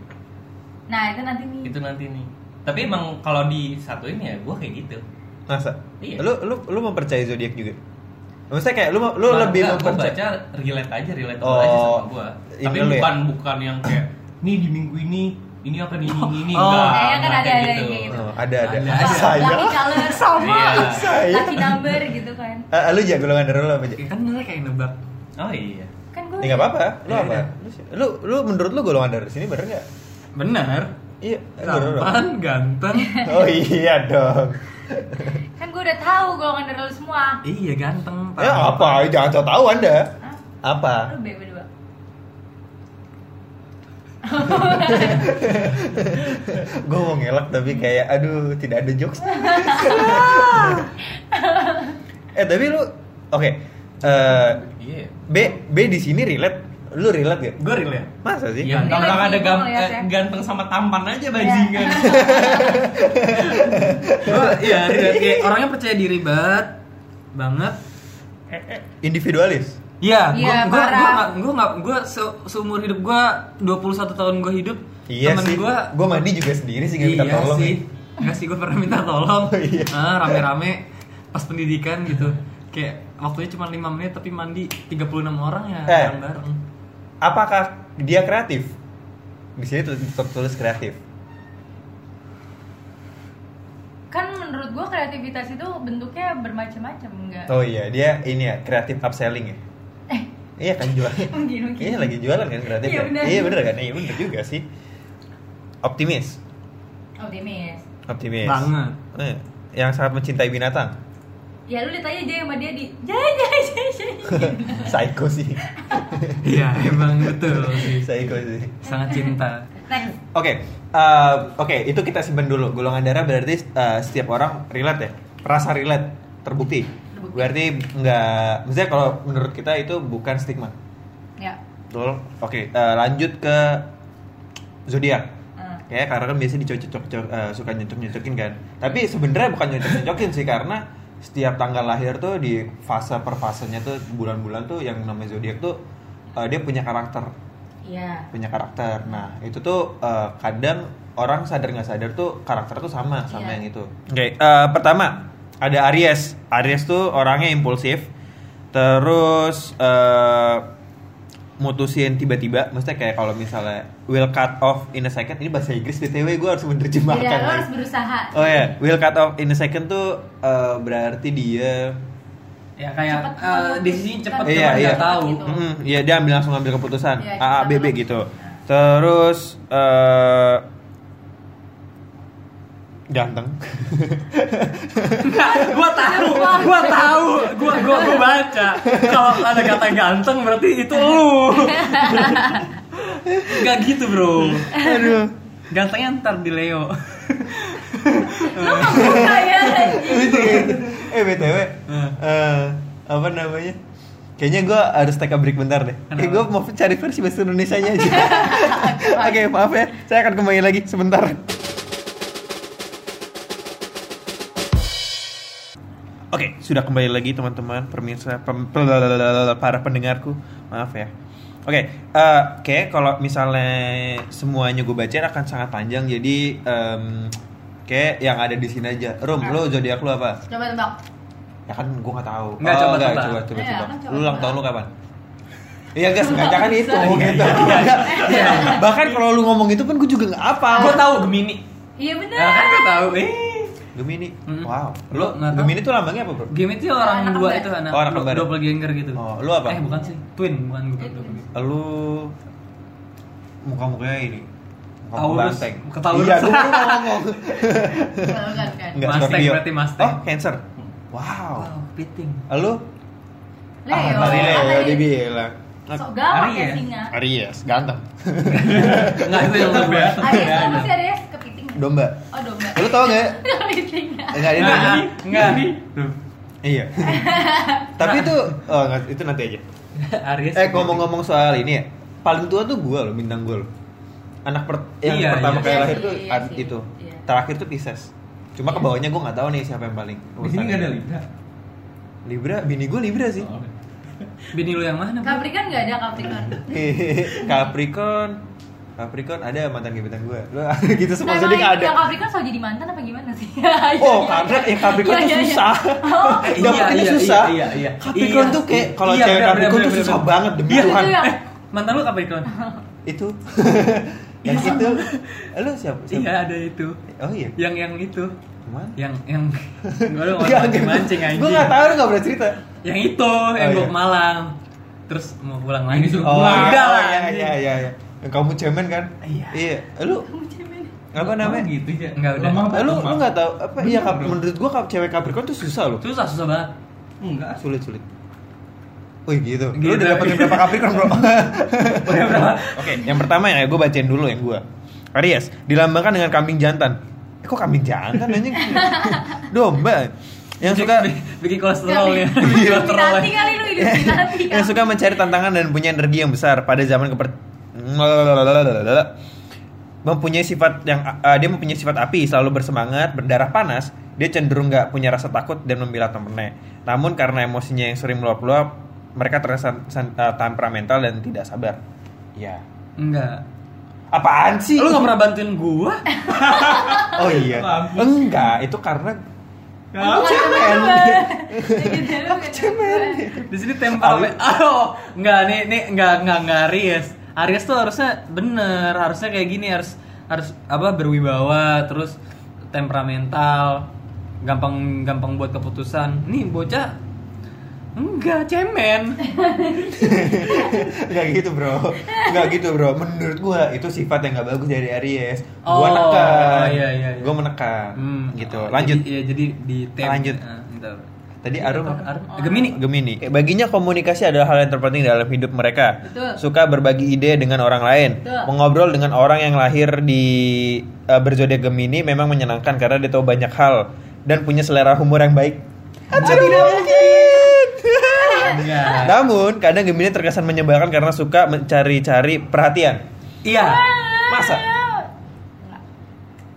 [SPEAKER 4] Nah itu nanti nih
[SPEAKER 3] Itu nanti nih. Tapi emang kalau disatuin ya gue kayak gitu.
[SPEAKER 1] Masa?
[SPEAKER 3] Iya.
[SPEAKER 1] Lu lu lu mempercayai zodiak juga? Maksudnya kayak lu lu
[SPEAKER 3] Malah
[SPEAKER 1] lebih
[SPEAKER 3] enggak, gua
[SPEAKER 1] mempercaya
[SPEAKER 3] baca relate aja, relate
[SPEAKER 1] Oh,
[SPEAKER 3] aja sama gue.
[SPEAKER 1] ini
[SPEAKER 3] Tapi
[SPEAKER 1] dulu ya?
[SPEAKER 3] bukan bukan yang kayak nih di minggu ini ini apa nih ini ini
[SPEAKER 2] Oh.
[SPEAKER 3] enggak.
[SPEAKER 4] Kayaknya
[SPEAKER 3] enggak
[SPEAKER 4] kan ada-
[SPEAKER 3] kayak
[SPEAKER 4] ada yang kayak gitu.
[SPEAKER 1] Oh, ada ada.
[SPEAKER 3] Ada,
[SPEAKER 4] Apa?
[SPEAKER 3] ada.
[SPEAKER 1] Saya.
[SPEAKER 4] Lucky color
[SPEAKER 2] Sama.
[SPEAKER 3] Iya.
[SPEAKER 1] Saya.
[SPEAKER 4] Lucky number gitu kan
[SPEAKER 1] Eh, lu jago golongan darah lu apa aja?
[SPEAKER 2] ya kan lu kayak nebak
[SPEAKER 3] Oh iya.
[SPEAKER 4] Kan gue
[SPEAKER 1] Ya enggak apa-apa. Lu
[SPEAKER 2] Iya,
[SPEAKER 1] apa?
[SPEAKER 2] iya.
[SPEAKER 1] Lu si- Lu lu menurut lu golongan darah sini bener enggak?
[SPEAKER 2] bener
[SPEAKER 1] Iya, eh, bener dong.
[SPEAKER 2] tampan ganteng
[SPEAKER 1] Oh iya dong.
[SPEAKER 4] Kan gue udah tahu golongan darah lu semua
[SPEAKER 2] iya ganteng
[SPEAKER 1] Ya
[SPEAKER 2] tampan.
[SPEAKER 1] apa? Jangan so tahu Anda.
[SPEAKER 4] Hah?
[SPEAKER 1] Apa?
[SPEAKER 4] Lu B berdua
[SPEAKER 1] Gue mau ngelak tapi kayak aduh tidak ada jokes. eh tapi lu oke. Eh,
[SPEAKER 3] Iya.
[SPEAKER 1] B B di sini relate. Lu relate gak?
[SPEAKER 2] gue real ya
[SPEAKER 1] Masa sih?
[SPEAKER 3] Iya,
[SPEAKER 4] Relate
[SPEAKER 3] orang
[SPEAKER 4] sih,
[SPEAKER 3] ada
[SPEAKER 4] gua
[SPEAKER 3] gam-
[SPEAKER 4] ngeliat
[SPEAKER 3] eh,
[SPEAKER 4] ya.
[SPEAKER 3] ganteng sama tampan aja bajingan.
[SPEAKER 2] Gua, iya relate. Kayak orangnya percaya diri banget banget
[SPEAKER 1] Eh, Individualis.
[SPEAKER 2] Iya,
[SPEAKER 4] Iya,
[SPEAKER 2] gua gua
[SPEAKER 4] parah.
[SPEAKER 2] gua nggak- gua nggak- gua se- seumur hidup gua 21 tahun gua hidup
[SPEAKER 1] Iya
[SPEAKER 2] temen
[SPEAKER 1] sih.
[SPEAKER 2] gua
[SPEAKER 1] Gue mandi juga sendiri sih gak minta
[SPEAKER 2] iya
[SPEAKER 1] tolong.
[SPEAKER 2] sih. Enggak sih gua pernah minta tolong.
[SPEAKER 1] Oh, iya.
[SPEAKER 2] Ah, rame-rame pas pendidikan gitu. Kayak waktunya cuma 5 menit tapi mandi 36 orang ya
[SPEAKER 1] Eh.
[SPEAKER 2] bareng-bareng.
[SPEAKER 1] Apakah dia kreatif? Di sini tulis, tulis kreatif.
[SPEAKER 4] Kan menurut gue kreativitas itu bentuknya bermacam-macam enggak?
[SPEAKER 1] Oh iya, dia ini ya kreatif upselling ya.
[SPEAKER 4] Eh,
[SPEAKER 1] Iya kan jualan.
[SPEAKER 4] Mungkin mungkin
[SPEAKER 1] Iya lagi jualan kan kreatif.
[SPEAKER 4] Iya,
[SPEAKER 1] ya?
[SPEAKER 4] benar.
[SPEAKER 1] Iya bener kan? Iya bener juga sih. Optimis,
[SPEAKER 4] Optimis
[SPEAKER 1] optimis.
[SPEAKER 2] Banget.
[SPEAKER 1] Eh, Yang sangat mencintai binatang.
[SPEAKER 4] Ya lu ditanya aja sama dia di Jai jai jai jai
[SPEAKER 1] Psycho sih.
[SPEAKER 2] Iya, emang betul sih.
[SPEAKER 1] Psycho sih.
[SPEAKER 2] Sangat cinta.
[SPEAKER 4] Next
[SPEAKER 1] Oke, eh, oke itu kita simpen dulu. Golongan darah berarti eh, setiap orang relate ya, rasa relate terbukti.
[SPEAKER 4] Terbukti.
[SPEAKER 1] Berarti nggak, maksudnya kalau menurut kita itu bukan stigma.
[SPEAKER 4] Ya
[SPEAKER 1] Betul. Oke, eh, lanjut ke zodiak.
[SPEAKER 4] Eh,
[SPEAKER 1] Kayak karena kan biasanya dicocok-cocok eh, suka nyocok-nyocokin kan. Tapi sebenarnya bukan nyocok-nyocokin sih karena setiap tanggal lahir tuh di fase per fasenya tuh bulan-bulan tuh yang namanya zodiak tuh eh, dia punya karakter
[SPEAKER 4] Iya
[SPEAKER 1] punya karakter. Nah itu tuh eh, kadang orang sadar nggak sadar tuh karakter tuh sama sama
[SPEAKER 4] Iya.
[SPEAKER 1] yang itu. Oke eh, pertama ada Aries. Aries tuh orangnya impulsif, terus eh, mutusin tiba-tiba. Maksudnya kayak kalau misalnya will cut off in a second. Ini bahasa Inggris btw gue harus menerjemahkan.
[SPEAKER 4] Iya lo
[SPEAKER 1] lagi.
[SPEAKER 4] harus berusaha
[SPEAKER 1] Oh ya, will cut off in a second tuh eh, berarti dia
[SPEAKER 2] Ya kayak
[SPEAKER 4] Cepet
[SPEAKER 2] eh,
[SPEAKER 4] banget.
[SPEAKER 2] decision cepet
[SPEAKER 1] Iya,
[SPEAKER 2] cuma
[SPEAKER 1] iya.
[SPEAKER 2] nggak tahu.
[SPEAKER 4] Gitu.
[SPEAKER 1] Mm, Iya dia ambil langsung ambil keputusan
[SPEAKER 4] Iya,
[SPEAKER 1] A A B B
[SPEAKER 4] kita
[SPEAKER 1] gitu. Terus eh ganteng.
[SPEAKER 2] Enggak, gua tahu, gua tahu, gua gua gua baca. Kalau ada kata ganteng berarti itu lu. Enggak gitu, Bro.
[SPEAKER 1] Aduh.
[SPEAKER 2] Gantengnya ntar di Leo.
[SPEAKER 4] Lo gak buka ya anjing.
[SPEAKER 1] eh btw eh, apa namanya? Kayaknya gue harus take a break bentar deh. Eh, gue mau cari versi bahasa Indonesia nya aja. Oke maaf ya, saya akan kembali lagi sebentar. Oke, sudah kembali lagi teman-teman, permisa pem- pelalalalala, para pendengarku. Maaf ya. Oke, eh, kayak kalau misalnya semuanya gue bacain akan sangat panjang, jadi em, kayak yang ada di sini aja. Rum,
[SPEAKER 2] Ah.
[SPEAKER 1] lo zodiak lo apa?
[SPEAKER 4] Coba tebak
[SPEAKER 1] Ya kan gue nggak tahu.
[SPEAKER 2] Nggak, coba
[SPEAKER 1] nggak,
[SPEAKER 2] tebak.
[SPEAKER 1] coba, coba,
[SPEAKER 4] Iya,
[SPEAKER 1] coba.
[SPEAKER 4] kan coba
[SPEAKER 1] Lu ulang
[SPEAKER 4] tebak.
[SPEAKER 1] tahun lu kapan? Iya gak sengaja kan itu gitu.
[SPEAKER 2] iya.
[SPEAKER 1] Bahkan kalau lu ngomong itu pun gue juga nggak hafal.
[SPEAKER 2] gua tahu Gemini.
[SPEAKER 4] Iya bener
[SPEAKER 1] Ya,
[SPEAKER 2] Nah, kan gua tahu. Eh.
[SPEAKER 1] Gemini.
[SPEAKER 2] Mm-mm.
[SPEAKER 1] Wow.
[SPEAKER 2] Lu
[SPEAKER 1] Lu
[SPEAKER 2] nggak tahu?
[SPEAKER 1] Gemini tuh lambangnya apa, Bro?
[SPEAKER 2] Gemini itu orang
[SPEAKER 4] Anak
[SPEAKER 2] dua
[SPEAKER 4] kembar.
[SPEAKER 2] itu anak
[SPEAKER 1] Oh, anak
[SPEAKER 2] do-
[SPEAKER 1] kembar.
[SPEAKER 2] doppelganger gitu.
[SPEAKER 1] Oh, lu apa?
[SPEAKER 2] Eh, bukan sih. Twin, bukan gua. doppelganger.
[SPEAKER 1] lu muka-mukanya ini muka
[SPEAKER 2] Taurus.
[SPEAKER 1] banteng
[SPEAKER 2] Muka Taurus.
[SPEAKER 1] iya, gua baru mau ngomong
[SPEAKER 4] Bukan kan
[SPEAKER 1] Enggak,
[SPEAKER 2] Mustang,
[SPEAKER 1] Scorpio.
[SPEAKER 2] berarti Mustang.
[SPEAKER 1] oh cancer wow
[SPEAKER 2] Wow, piting.
[SPEAKER 1] lu
[SPEAKER 4] Leo
[SPEAKER 1] Ah, tadi Leo
[SPEAKER 4] Leo.
[SPEAKER 1] dia bilang
[SPEAKER 4] Sok gawat ya
[SPEAKER 2] Aries.
[SPEAKER 4] singa
[SPEAKER 1] Aries ganteng
[SPEAKER 2] Enggak itu yang lebih.
[SPEAKER 4] Aries tuh pasti Aries kepik
[SPEAKER 1] domba.
[SPEAKER 4] ya? Oh domba.
[SPEAKER 1] Lu tau nggak?
[SPEAKER 4] Nggak.
[SPEAKER 1] Enggak ini.
[SPEAKER 2] Nah, enggak.
[SPEAKER 1] Iya. Tapi itu oh, nggak, itu nanti aja.
[SPEAKER 2] Aries.
[SPEAKER 1] Eh ngomong-ngomong soal ini ya, paling tua tuh gua loh bintang gua loh. Anak per- yang
[SPEAKER 2] Iya,
[SPEAKER 1] pertama
[SPEAKER 2] iya.
[SPEAKER 1] kali
[SPEAKER 4] Iya
[SPEAKER 1] lahir
[SPEAKER 4] sih,
[SPEAKER 1] tuh
[SPEAKER 4] iya
[SPEAKER 1] ad-
[SPEAKER 4] sih.
[SPEAKER 1] itu.
[SPEAKER 4] Iya.
[SPEAKER 1] Terakhir tuh Pisces. Cuma
[SPEAKER 4] Iya.
[SPEAKER 1] ke bawahnya gua nggak tahu nih siapa yang paling.
[SPEAKER 3] Di sini nggak ada Oh,
[SPEAKER 1] urusannya.
[SPEAKER 3] Libra.
[SPEAKER 1] Libra, bini gua Libra sih.
[SPEAKER 2] Oh.
[SPEAKER 3] Soalnya.
[SPEAKER 2] Bini lu yang mana? Bro?
[SPEAKER 4] Capricorn nggak ada Capricorn.
[SPEAKER 1] Hehehe. Capricorn. Capricorn ada mantan gebetan gua. Lu gitu semua
[SPEAKER 4] Nah,
[SPEAKER 1] jadi
[SPEAKER 4] emang
[SPEAKER 1] nggak ada.
[SPEAKER 4] Yang Capricorn selalu jadi mantan apa gimana sih?
[SPEAKER 1] Oh, karena eh, Capricorn
[SPEAKER 4] Iya,
[SPEAKER 1] tuh
[SPEAKER 4] iya, iya.
[SPEAKER 1] susah.
[SPEAKER 4] Oh.
[SPEAKER 2] Eh, iya,
[SPEAKER 1] Dapetinnya
[SPEAKER 2] iya,
[SPEAKER 1] susah.
[SPEAKER 2] iya, iya, iya.
[SPEAKER 1] Capricorn
[SPEAKER 2] Iya.
[SPEAKER 1] tuh kayak kalau
[SPEAKER 2] Iya,
[SPEAKER 1] cewek
[SPEAKER 2] benar,
[SPEAKER 1] Capricorn
[SPEAKER 2] benar,
[SPEAKER 1] tuh
[SPEAKER 2] benar,
[SPEAKER 1] susah
[SPEAKER 2] benar.
[SPEAKER 1] banget demi
[SPEAKER 2] Iya.
[SPEAKER 1] Tuhan.
[SPEAKER 4] Itu yang-
[SPEAKER 2] Eh, mantan lu Capricorn?
[SPEAKER 1] Itu.
[SPEAKER 4] Iya.
[SPEAKER 1] Yang itu. Lu siapa? siapa?
[SPEAKER 2] iya, ada itu.
[SPEAKER 1] Oh iya.
[SPEAKER 2] Yang yang itu.
[SPEAKER 1] Cuman
[SPEAKER 2] Yang yang gua lu ngomong mancing anjing.
[SPEAKER 1] Gue gak tau, lu gak pernah cerita
[SPEAKER 2] Yang itu, yang
[SPEAKER 1] Oh,
[SPEAKER 2] gua
[SPEAKER 1] iya.
[SPEAKER 2] ke Malang. Terus mau pulang lagi.
[SPEAKER 3] Ini suruh Oh, pulang.
[SPEAKER 2] Udah lah.
[SPEAKER 1] iya,
[SPEAKER 2] anjing.
[SPEAKER 1] iya, iya, iya. Yang kamu cemen kan?
[SPEAKER 2] Iya.
[SPEAKER 1] Iya. Eh, Lu,
[SPEAKER 4] Kamu cemen.
[SPEAKER 1] apa namanya?
[SPEAKER 3] Oh, gitu ya.
[SPEAKER 2] Nggak, udah.
[SPEAKER 3] Lemah
[SPEAKER 1] Eh,
[SPEAKER 3] banget,
[SPEAKER 1] Lu, lu
[SPEAKER 3] lemah.
[SPEAKER 1] gak tau, apa, iya,
[SPEAKER 3] Bener,
[SPEAKER 1] kap-
[SPEAKER 3] bro.
[SPEAKER 1] menurut gue cewek Capricorn tuh susah loh
[SPEAKER 2] Susah, susah banget.
[SPEAKER 3] Enggak.
[SPEAKER 1] Sulit, sulit Wih gitu,
[SPEAKER 2] Gitu.
[SPEAKER 1] lu udah dapetin berapa Capricorn bro?
[SPEAKER 2] Udah berapa?
[SPEAKER 1] Oke, yang pertama ya, gue bacain dulu yang gue Aries, dilambangkan dengan kambing jantan Eh kok kambing jantan anjing? Domba Yang suka
[SPEAKER 2] bikin kolesterol ya. Bikin kolesterol
[SPEAKER 4] Illuminati
[SPEAKER 2] ya.
[SPEAKER 4] kali lu Illuminati
[SPEAKER 1] yang
[SPEAKER 4] kali.
[SPEAKER 1] suka mencari tantangan dan punya energi yang besar pada zaman keper mempunyai sifat yang eh, dia mempunyai sifat api selalu bersemangat berdarah panas dia cenderung nggak punya rasa takut dan membela temennya namun karena emosinya yang sering meluap-luap mereka terkesan san- eh, temperamental dan tidak sabar ya
[SPEAKER 2] Enggak.
[SPEAKER 1] apaan sih
[SPEAKER 2] Lu gak pernah bantuin gua?
[SPEAKER 1] oh iya
[SPEAKER 3] Mampus.
[SPEAKER 1] enggak itu karena
[SPEAKER 4] Kamu cemen. Ya gitu, lu
[SPEAKER 1] aku
[SPEAKER 4] gitu.
[SPEAKER 1] cemen
[SPEAKER 2] Di sini temperamen. Oh, enggak nih nih enggak enggak enggak Aries. Aries tuh harusnya bener, harusnya kayak gini harus harus apa berwibawa, terus temperamental, gampang gampang buat keputusan. Nih bocah enggak cemen.
[SPEAKER 1] Gak gitu bro Gak gitu bro Menurut gua itu sifat yang gak bagus dari Aries Gua
[SPEAKER 2] Oh,
[SPEAKER 1] menekan
[SPEAKER 2] iya, iya, iya.
[SPEAKER 1] Gua menekan Gitu
[SPEAKER 2] oh,
[SPEAKER 1] Lanjut
[SPEAKER 2] Jadi, ya jadi di tem.
[SPEAKER 1] Lanjut.
[SPEAKER 2] Ah, bentar.
[SPEAKER 1] Tadi Arum apa?
[SPEAKER 2] Ar- Gemini.
[SPEAKER 1] Gemini Eh, Baginya komunikasi adalah hal yang terpenting dalam hidup mereka
[SPEAKER 4] Betul.
[SPEAKER 1] Suka berbagi ide dengan orang lain
[SPEAKER 4] Betul.
[SPEAKER 1] Mengobrol dengan orang yang lahir di eh, berzodiak Gemini Memang menyenangkan karena dia tahu banyak hal Dan punya selera humor yang baik Tidak mungkin
[SPEAKER 2] Enggak.
[SPEAKER 1] Namun, kadang Gemini terkesan menyebalkan karena suka mencari-cari perhatian.
[SPEAKER 2] Iya.
[SPEAKER 1] Masa?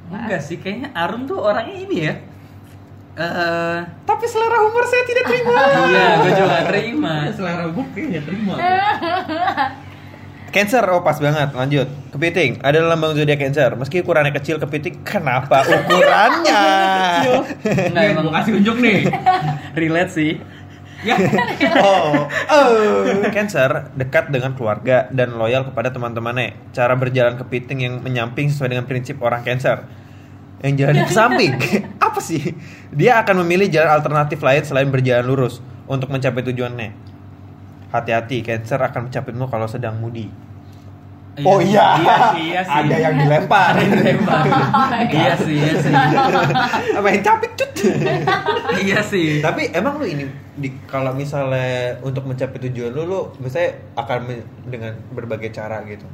[SPEAKER 2] Enggak sih, kayaknya Arum tuh orangnya ini ya. Eh,
[SPEAKER 1] Tapi selera humor saya tidak terima.
[SPEAKER 2] iya, gue juga nggak terima.
[SPEAKER 3] Nah, selera gue kayaknya terima.
[SPEAKER 1] Cancer, oh pas banget. Lanjut. Kepiting, ada lambang zodiak Cancer. Meski ukurannya kecil, kepiting kenapa ukurannya?
[SPEAKER 2] Enggak
[SPEAKER 1] Iya,
[SPEAKER 3] Nih,
[SPEAKER 2] emang
[SPEAKER 1] kan-
[SPEAKER 3] gue kasih unjuk nih.
[SPEAKER 2] relate sih.
[SPEAKER 1] Iya.
[SPEAKER 3] Ya.
[SPEAKER 1] oh, oh. Cancer dekat dengan keluarga dan loyal kepada teman-temannya. Cara berjalan kepiting yang menyamping sesuai dengan prinsip orang Cancer. Yang jalannya ke samping. Apa sih? Dia akan memilih jalan alternatif lain selain berjalan lurus untuk mencapai tujuannya. Hati-hati, Cancer akan mencapitmu kalau sedang moody. Oh iya,
[SPEAKER 2] Iya sih, iya sih.
[SPEAKER 1] ada yang dilempar.
[SPEAKER 2] Ada yang dilempar. Iya sih, iya sih.
[SPEAKER 1] Main capit cut.
[SPEAKER 2] Iya sih.
[SPEAKER 1] Tapi emang lu ini di kalau misalnya untuk mencapai tujuan lu lu misalnya akan men- dengan berbagai cara gitu.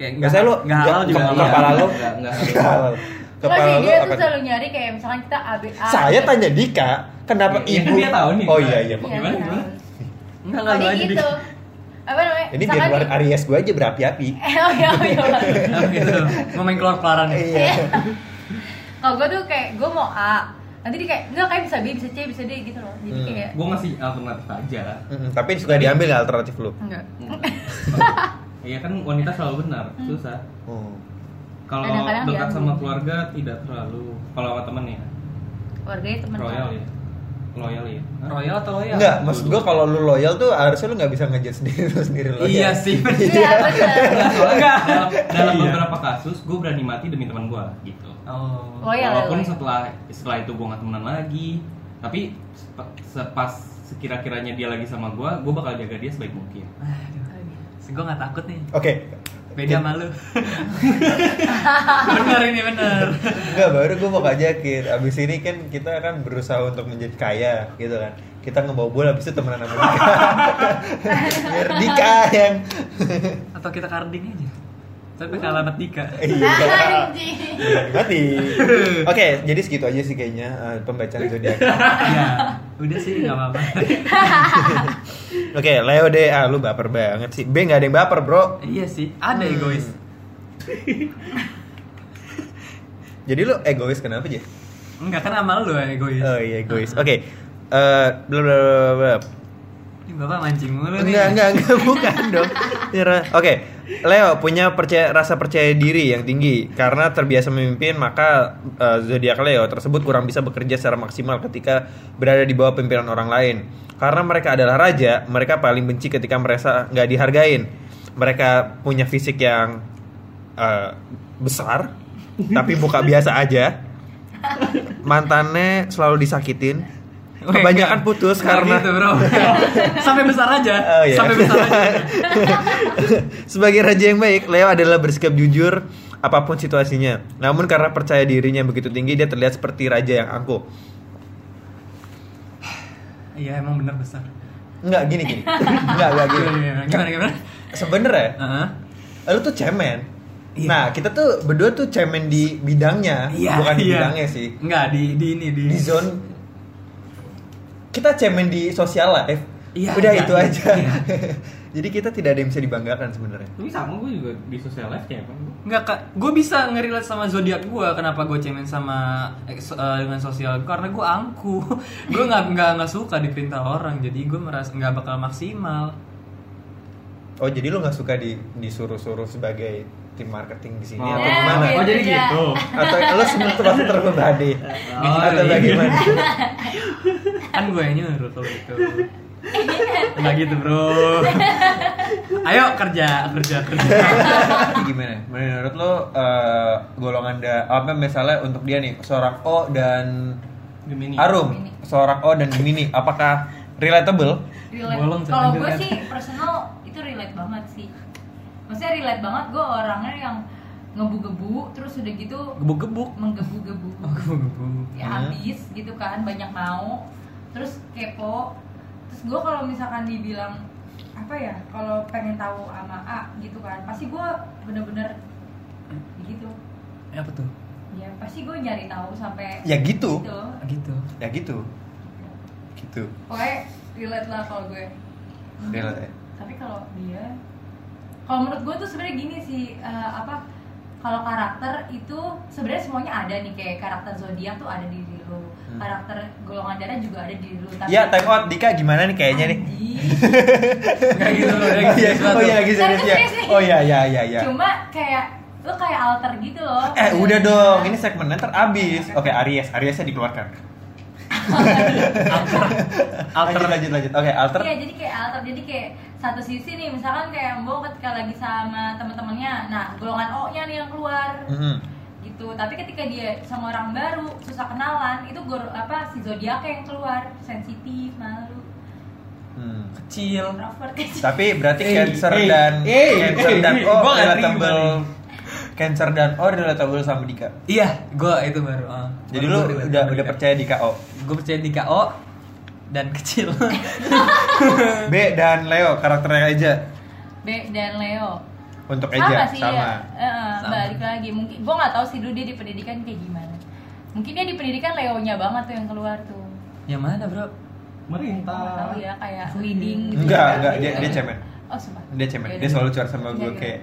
[SPEAKER 2] Kayak nggak-
[SPEAKER 1] Biasanya lu
[SPEAKER 2] nggak halal
[SPEAKER 1] ke-
[SPEAKER 2] juga.
[SPEAKER 1] ke-
[SPEAKER 2] iya.
[SPEAKER 1] kepala lu
[SPEAKER 3] Nggak, nggak.
[SPEAKER 1] nggak halal.
[SPEAKER 4] Nggak gitu
[SPEAKER 1] Kepala
[SPEAKER 4] sih,
[SPEAKER 1] lu
[SPEAKER 4] dia tuh
[SPEAKER 1] akan
[SPEAKER 4] selalu nyari kayak misalkan kita ABA
[SPEAKER 1] Saya tanya Dika, kenapa
[SPEAKER 3] Iya,
[SPEAKER 1] ibu
[SPEAKER 3] kan dia tahu nih.
[SPEAKER 1] Oh iya iya.
[SPEAKER 4] Iya,
[SPEAKER 1] Pak.
[SPEAKER 3] Gimana,
[SPEAKER 4] tahu.
[SPEAKER 3] gimana?
[SPEAKER 2] Enggak enggak
[SPEAKER 4] Pokoknya
[SPEAKER 2] aja di-
[SPEAKER 4] gitu Apa namanya?
[SPEAKER 1] Ini biar
[SPEAKER 4] misalkan
[SPEAKER 1] luar
[SPEAKER 4] di-
[SPEAKER 1] Aries gue aja berapi-api.
[SPEAKER 4] Eh, oh iya, oh iya, oh iya.
[SPEAKER 2] Nah, gitu. Mau main keluar kelaran ya.
[SPEAKER 1] Iya.
[SPEAKER 4] Kalau gue tuh kayak, gue mau A Nanti dia kayak, enggak kayak bisa B, bisa C, bisa D gitu loh Jadi
[SPEAKER 1] Hmm.
[SPEAKER 4] kayak,
[SPEAKER 3] Gue ngasih alternatif eh, aja.
[SPEAKER 1] Mm-mm, tapi suka diambil nggak alternatif lu.
[SPEAKER 4] enggak
[SPEAKER 3] Iya kan wanita selalu benar, susah.
[SPEAKER 1] Hmm.
[SPEAKER 3] Kalau
[SPEAKER 4] Kadang-kadang
[SPEAKER 3] dekat
[SPEAKER 4] diambil.
[SPEAKER 3] sama keluarga tidak terlalu. Kalau sama temen ya,
[SPEAKER 4] Keluarganya temen
[SPEAKER 3] royal ya. Loyal ya. Hah?
[SPEAKER 2] Royal atau loyal?
[SPEAKER 1] Enggak, maksud gue kalau lu loyal tuh harusnya lu nggak bisa ngejat sendiri lu sendiri loyal.
[SPEAKER 2] Iya sih.
[SPEAKER 4] Iya, bener
[SPEAKER 3] Enggak. Dalam, dalam
[SPEAKER 2] Iya.
[SPEAKER 3] beberapa kasus gue berani mati demi teman gue gitu.
[SPEAKER 2] Oh.
[SPEAKER 4] Loyal ya,
[SPEAKER 3] Walaupun
[SPEAKER 4] loyal.
[SPEAKER 3] setelah setelah itu gue nggak temenan lagi, tapi sepa- sepas sekira-kiranya dia lagi sama gue, gue bakal jaga dia sebaik mungkin.
[SPEAKER 2] Gue gak takut nih.
[SPEAKER 1] Oke,
[SPEAKER 2] Beda malu. bener ini bener.
[SPEAKER 1] Enggak, baru gue mau ngajakin Abis ini kan kita akan berusaha untuk menjadi kaya gitu kan Kita ngebobol abis itu temenan sama Dika Biar Dika yang
[SPEAKER 2] Atau kita karding aja. Tapi kalah anak Dika.
[SPEAKER 4] Ah, anjing.
[SPEAKER 1] Mati. Iya. Oke, jadi segitu aja sih kayaknya eh, pembacaan zodiak.
[SPEAKER 2] ya, udah sih nggak apa-apa.
[SPEAKER 1] Oke, Leo deh, ah lu baper banget sih. B nggak ada yang baper, Bro.
[SPEAKER 2] iya sih, ada
[SPEAKER 1] Hmm.
[SPEAKER 2] egois.
[SPEAKER 1] Jadi lu egois kenapa, Jay?
[SPEAKER 2] Enggak kan amal lu yang egois.
[SPEAKER 1] Oh iya, egois. Oke. Eh, bla bla bla bla.
[SPEAKER 2] Ini Bapak mancing mulu nih.
[SPEAKER 1] Enggak, enggak, enggak, bukan dong. Ini ra- Oke, Leo punya percaya, rasa percaya diri yang tinggi karena terbiasa memimpin maka eh, zodiak Leo tersebut kurang bisa bekerja secara maksimal ketika berada di bawah pimpinan orang lain. Karena mereka adalah raja, mereka paling benci ketika merasa nggak dihargain. Mereka punya fisik yang eh, besar, tapi muka biasa aja. Mantannya selalu disakitin.
[SPEAKER 2] Weh,
[SPEAKER 1] Kebanyakan
[SPEAKER 2] enggak.
[SPEAKER 1] putus
[SPEAKER 2] Enggak
[SPEAKER 1] karena
[SPEAKER 2] gitu, Bro. Sampai besar aja.
[SPEAKER 1] Oh, iya.
[SPEAKER 2] Sampai besar aja.
[SPEAKER 1] Sebagai raja yang baik, Leo adalah bersikap jujur apapun situasinya. Namun karena percaya dirinya yang begitu tinggi, dia terlihat seperti raja yang angkuh.
[SPEAKER 2] Iya, emang bener besar.
[SPEAKER 1] Enggak gini gini. Enggak enggak gini.
[SPEAKER 2] Gimana gimana? gimana?
[SPEAKER 1] Sebenernya,
[SPEAKER 2] Heeh.
[SPEAKER 1] lu tuh cemen.
[SPEAKER 2] Iya.
[SPEAKER 1] Nah, kita tuh berdua tuh cemen di bidangnya, bukan
[SPEAKER 2] iya.
[SPEAKER 1] di bidangnya sih.
[SPEAKER 2] Enggak, di di ini di
[SPEAKER 1] Di zone kita cemen di sosial life.
[SPEAKER 2] Iya,
[SPEAKER 1] Udah
[SPEAKER 2] iya,
[SPEAKER 1] itu
[SPEAKER 2] iya,
[SPEAKER 1] aja.
[SPEAKER 2] iya.
[SPEAKER 1] Jadi kita tidak ada yang bisa dibanggakan sebenarnya.
[SPEAKER 3] Ini sama gue juga di social life kayak apa?
[SPEAKER 2] Enggak kak, gue bisa ngerelate sama zodiak gue kenapa gue cemen sama eh, so- eh, dengan sosial gua. karena gue angku, gue nggak nggak nggak suka diperintah orang jadi gue merasa nggak bakal maksimal.
[SPEAKER 1] Oh, jadi lu nggak suka di disuruh-suruh sebagai tim marketing di sini
[SPEAKER 3] Oh.
[SPEAKER 1] atau
[SPEAKER 4] Ya,
[SPEAKER 1] gimana?
[SPEAKER 4] oke,
[SPEAKER 3] Oh, jadi
[SPEAKER 4] beda.
[SPEAKER 3] gitu.
[SPEAKER 1] atau lo semua termasuk terbebani
[SPEAKER 2] Oh,
[SPEAKER 1] atau
[SPEAKER 2] iya.
[SPEAKER 1] bagaimana
[SPEAKER 2] Kan gue yang nyuruh kalau gitu. Enggak gitu bro. Ayo kerja kerja kerja.
[SPEAKER 1] gimana menurut lo eh, golongan da apa misalnya untuk dia nih seorang O dan
[SPEAKER 3] Gemini.
[SPEAKER 1] Arum seorang O dan Gemini apakah relatable
[SPEAKER 4] relate.
[SPEAKER 2] Bolong, jangan
[SPEAKER 4] kalau gue
[SPEAKER 3] kan.
[SPEAKER 2] jelek.
[SPEAKER 4] sih personal itu relate banget sih maksudnya relate banget gue orangnya yang ngebu-gebu terus udah gitu
[SPEAKER 2] Gebuk gebuk.
[SPEAKER 4] menggebu-gebu
[SPEAKER 2] Oh, gebuk gebuk.
[SPEAKER 4] ya
[SPEAKER 1] Hmm.
[SPEAKER 4] habis gitu kan banyak mau terus kepo terus gue kalau misalkan dibilang apa ya kalau pengen tahu sama A gitu kan pasti gue bener-bener ya gitu
[SPEAKER 2] Eh, Apa tuh?
[SPEAKER 4] ya pasti gue nyari tahu sampai
[SPEAKER 1] ya gitu
[SPEAKER 4] gitu
[SPEAKER 2] Gitu.
[SPEAKER 1] ya gitu gitu
[SPEAKER 4] pokoknya relate lah kalau gue
[SPEAKER 1] relate ya.
[SPEAKER 4] tapi kalau dia kalau menurut gue tuh sebenarnya gini sih eh, apa kalau karakter itu sebenarnya semuanya ada nih kayak karakter zodiak tuh ada di diri lu
[SPEAKER 1] Hmm.
[SPEAKER 4] karakter golongan darah juga ada di diri lu tapi
[SPEAKER 1] ya time out Dika gimana nih kayaknya nih
[SPEAKER 4] Anjing.
[SPEAKER 2] Enggak gitu loh.
[SPEAKER 1] oh iya oh iya lagi
[SPEAKER 4] Serius,
[SPEAKER 1] serius ya
[SPEAKER 4] serius nih.
[SPEAKER 1] oh iya iya iya iya
[SPEAKER 4] cuma kayak lu kayak alter gitu loh
[SPEAKER 1] eh udah dong ini segmennya ntar abis oke Aries Ariesnya dikeluarkan
[SPEAKER 2] Alter
[SPEAKER 1] lanjut lanjut lanjut oke alter
[SPEAKER 4] Iya, jadi kayak alter, jadi kayak satu sisi nih, misalkan kayak Mbo ketika lagi sama teman-temannya, nah golongan O-nya nih yang keluar
[SPEAKER 1] Mhm.
[SPEAKER 4] gitu. Tapi ketika dia sama orang baru, susah kenalan, itu gor apa si zodiaknya yang keluar, sensitif, malu,
[SPEAKER 1] Hmm.
[SPEAKER 2] kecil.
[SPEAKER 4] introvert kecil.
[SPEAKER 1] Tapi berarti
[SPEAKER 3] Eh,
[SPEAKER 1] cancer
[SPEAKER 3] eh,
[SPEAKER 1] dan
[SPEAKER 3] eh,
[SPEAKER 1] cancer
[SPEAKER 3] eh,
[SPEAKER 1] dan
[SPEAKER 3] eh,
[SPEAKER 1] O
[SPEAKER 3] gua nggak
[SPEAKER 1] relatable.
[SPEAKER 3] terima
[SPEAKER 1] Cancer dan O relatable sama Dika.
[SPEAKER 2] Iya, gue itu baru. ah.
[SPEAKER 1] Jadi
[SPEAKER 2] Baru
[SPEAKER 1] lu
[SPEAKER 2] gua relate
[SPEAKER 1] udah
[SPEAKER 2] sama
[SPEAKER 1] udah
[SPEAKER 2] Dika.
[SPEAKER 1] percaya Dika O.
[SPEAKER 2] gue percaya di KO dan kecil
[SPEAKER 1] B dan Leo karakternya aja
[SPEAKER 4] B dan Leo.
[SPEAKER 1] untuk
[SPEAKER 4] sama
[SPEAKER 1] Eja
[SPEAKER 4] sih ya.
[SPEAKER 1] sama.
[SPEAKER 4] Eh, eh,
[SPEAKER 2] Sama.
[SPEAKER 4] balik lagi mungkin gue nggak tahu sih dulu dia di pendidikan kayak gimana mungkin dia di pendidikan Leo-nya banget tuh yang keluar tuh
[SPEAKER 2] yang mana bro
[SPEAKER 4] Gua nggak tahu ya kayak leading gitu
[SPEAKER 1] Enggak,
[SPEAKER 4] ya.
[SPEAKER 1] enggak dia dia cemen.
[SPEAKER 4] oh sumpah
[SPEAKER 1] Dia cemen.
[SPEAKER 4] Yaudah.
[SPEAKER 1] Dia selalu curhat sama gue
[SPEAKER 4] Iya,
[SPEAKER 1] kayak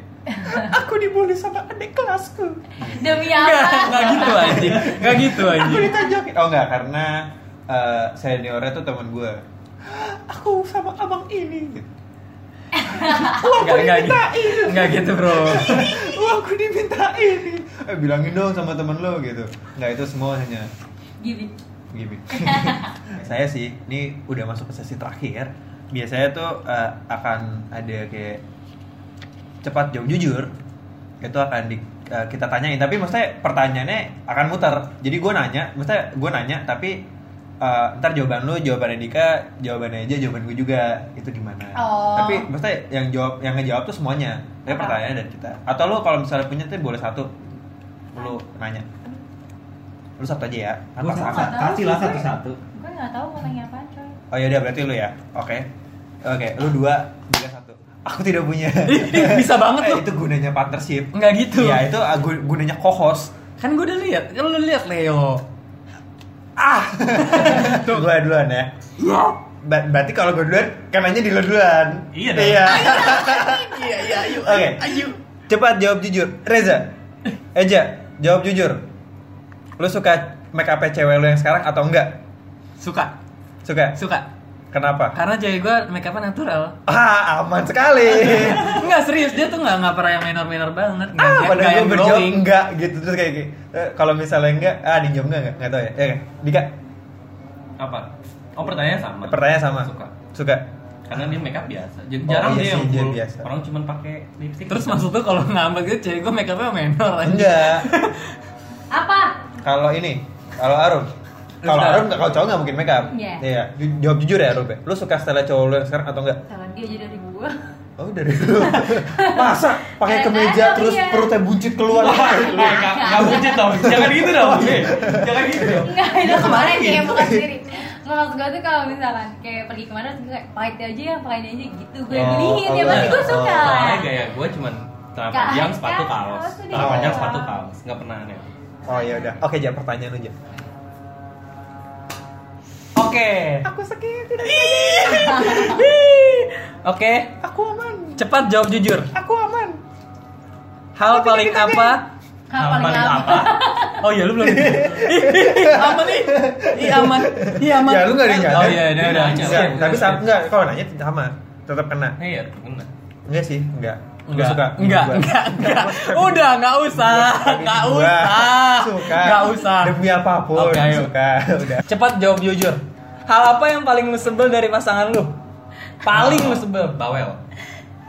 [SPEAKER 1] aku dibully sama adik kelasku.
[SPEAKER 4] demi
[SPEAKER 2] nggak
[SPEAKER 4] apa
[SPEAKER 2] nggak gitu anjing nggak gitu
[SPEAKER 1] Aku
[SPEAKER 2] anjing
[SPEAKER 1] ditonjokin. Oh enggak, karena eh, seniornya tuh teman gue. Aku sama abang ini gitu.
[SPEAKER 2] nggak nggak gitu nggak gitu bro
[SPEAKER 1] Wah, aku dimintain. Eh, bilangin dong sama temen lo gitu. Enggak itu semua hanya
[SPEAKER 4] gini
[SPEAKER 1] gimmick. saya sih, ini udah masuk ke sesi terakhir. Biasanya tuh eh, akan ada kayak cepat jauh jujur. Itu akan di- eh, kita tanyain. Tapi maksudnya pertanyaannya akan muter. Jadi gue nanya, maksudnya gue nanya, tapi eh, ntar jawaban lu, jawabannya Dika, jawabannya aja, jawaban gue juga. Itu gimana?
[SPEAKER 4] Oh.
[SPEAKER 1] Tapi maksudnya yang jawab, yang ngejawab tuh semuanya. Tapi pertanyaan dari kita. Atau lu kalau misalnya punya tuh boleh satu. Lu nanya. Lu satu aja ya. Kan
[SPEAKER 3] Gua
[SPEAKER 1] pasangan.
[SPEAKER 4] nggak tahu
[SPEAKER 3] Kasih lah
[SPEAKER 4] sih, gue-
[SPEAKER 3] satu-satu.
[SPEAKER 4] gue nggak tahu mau nanya apa coy
[SPEAKER 1] Oh ya udah berarti lu ya. Oke. Oke, lu dua, tiga satu. aku tidak punya
[SPEAKER 2] Ih, bisa banget
[SPEAKER 1] Eh,
[SPEAKER 2] tuh.
[SPEAKER 1] itu gunanya partnership
[SPEAKER 2] Nggak gitu.
[SPEAKER 1] Iya itu ah, gu- gunanya kohos
[SPEAKER 2] Kan gue udah lihat, kan lu lihat Leo.
[SPEAKER 1] ah gua duluan ya Ba- berarti kalau gua duluan kanannya di lo duluan
[SPEAKER 3] Iya dong.
[SPEAKER 2] Iya, iya, ayo.
[SPEAKER 1] oke cepat jawab jujur Reza Eja jawab jujur lu suka make up cewek lu yang sekarang atau enggak
[SPEAKER 2] Suka,
[SPEAKER 1] suka
[SPEAKER 2] suka.
[SPEAKER 1] kenapa
[SPEAKER 2] Karena cewek gue make up natural.
[SPEAKER 1] ah aman sekali
[SPEAKER 2] Enggak serius, dia tuh enggak enggak pernah yang minor-minor banget. Nggak-
[SPEAKER 1] ah
[SPEAKER 2] nggak-
[SPEAKER 1] padahal
[SPEAKER 2] nggak
[SPEAKER 1] gue berjawab enggak gitu terus kayak kayak, eh, kalau misalnya enggak ah dijawab enggak enggak enggak tahu ya ya kan? Dika
[SPEAKER 3] Apa? Oh pertanyaan sama.
[SPEAKER 1] pertanyaan sama
[SPEAKER 3] Suka.
[SPEAKER 1] suka
[SPEAKER 3] Karena dia makeup biasa. Jadi
[SPEAKER 1] Oh,
[SPEAKER 3] jarang
[SPEAKER 1] iya
[SPEAKER 3] dia
[SPEAKER 1] sih,
[SPEAKER 3] yang
[SPEAKER 1] dia
[SPEAKER 3] full.
[SPEAKER 1] biasa.
[SPEAKER 3] Orang cuma pakai lipstick. Gitu.
[SPEAKER 2] Terus maksud tuh kalau ngambek gitu cewek gue make upnya minor aja.
[SPEAKER 1] enggak
[SPEAKER 4] Apa?
[SPEAKER 1] kalau ini kalau Arum kalau
[SPEAKER 2] Bentar.
[SPEAKER 1] Arum nggak- kalau cowok nggak mungkin make up
[SPEAKER 4] Iya.
[SPEAKER 1] iya ju- jawab jujur ya Arum ya lu suka style cowok lu yang sekarang atau enggak
[SPEAKER 4] Salah dia aja dari gua.
[SPEAKER 1] oh dari dulu masa pakai
[SPEAKER 4] Dari
[SPEAKER 1] kemeja
[SPEAKER 4] tadi,
[SPEAKER 1] terus
[SPEAKER 4] iya.
[SPEAKER 1] perutnya buncit keluar
[SPEAKER 3] Lu ya, nggak nggak buncit dong. Jangan gitu dong. Be. Jangan gitu dong.
[SPEAKER 4] Enggak,
[SPEAKER 1] Iya,
[SPEAKER 4] itu kemarin kayak bukan sendiri. Nggak, Maksud gue tuh kalau misalkan kayak pergi kemana terus gue kayak pakai itu aja yang pakai ini aja gitu gue
[SPEAKER 1] Oh,
[SPEAKER 4] beliin ya
[SPEAKER 1] oh,
[SPEAKER 4] pasti gue
[SPEAKER 1] oh.
[SPEAKER 4] suka.
[SPEAKER 3] Soalnya gaya gue cuman celana
[SPEAKER 4] Kaos,
[SPEAKER 3] panjang sepatu
[SPEAKER 4] kaos,
[SPEAKER 3] kaos.
[SPEAKER 4] udah.
[SPEAKER 3] Celana panjang sepatu kaos. Nggak pernah aneh.
[SPEAKER 1] oh ya udah oke jawab pertanyaan aja
[SPEAKER 2] Oke.
[SPEAKER 1] aku sakit
[SPEAKER 2] Oke,
[SPEAKER 1] aku aman
[SPEAKER 2] cepat jawab jujur.
[SPEAKER 1] aku aman
[SPEAKER 2] Hal paling apa?
[SPEAKER 4] Hal paling apa?
[SPEAKER 2] Oh iya lu belum. Ih, ih, aman nih. Ih aman. Ih aman.
[SPEAKER 1] Ya, lu nggak ada yang
[SPEAKER 2] Oh
[SPEAKER 1] nyadar.
[SPEAKER 2] iya, udah udah.
[SPEAKER 3] Nggak,
[SPEAKER 1] Enggak, tapi
[SPEAKER 2] sama
[SPEAKER 1] sama enggak kalau nanya sama tetap kena
[SPEAKER 3] Iya, kena.
[SPEAKER 1] enggak sih enggak Gua
[SPEAKER 2] Enggak,
[SPEAKER 1] suka
[SPEAKER 2] enggak,
[SPEAKER 1] Gua-
[SPEAKER 2] enggak, enggak. Udah, enggak usah, enggak
[SPEAKER 1] Gua
[SPEAKER 2] usah,
[SPEAKER 1] suka
[SPEAKER 2] enggak usah.
[SPEAKER 1] demi apapun
[SPEAKER 2] Oke, ayo.
[SPEAKER 1] suka udah
[SPEAKER 2] Cepat jawab jujur. Hal apa yang paling lu sebel dari pasangan lu? Paling lu sebel.
[SPEAKER 3] Bawel.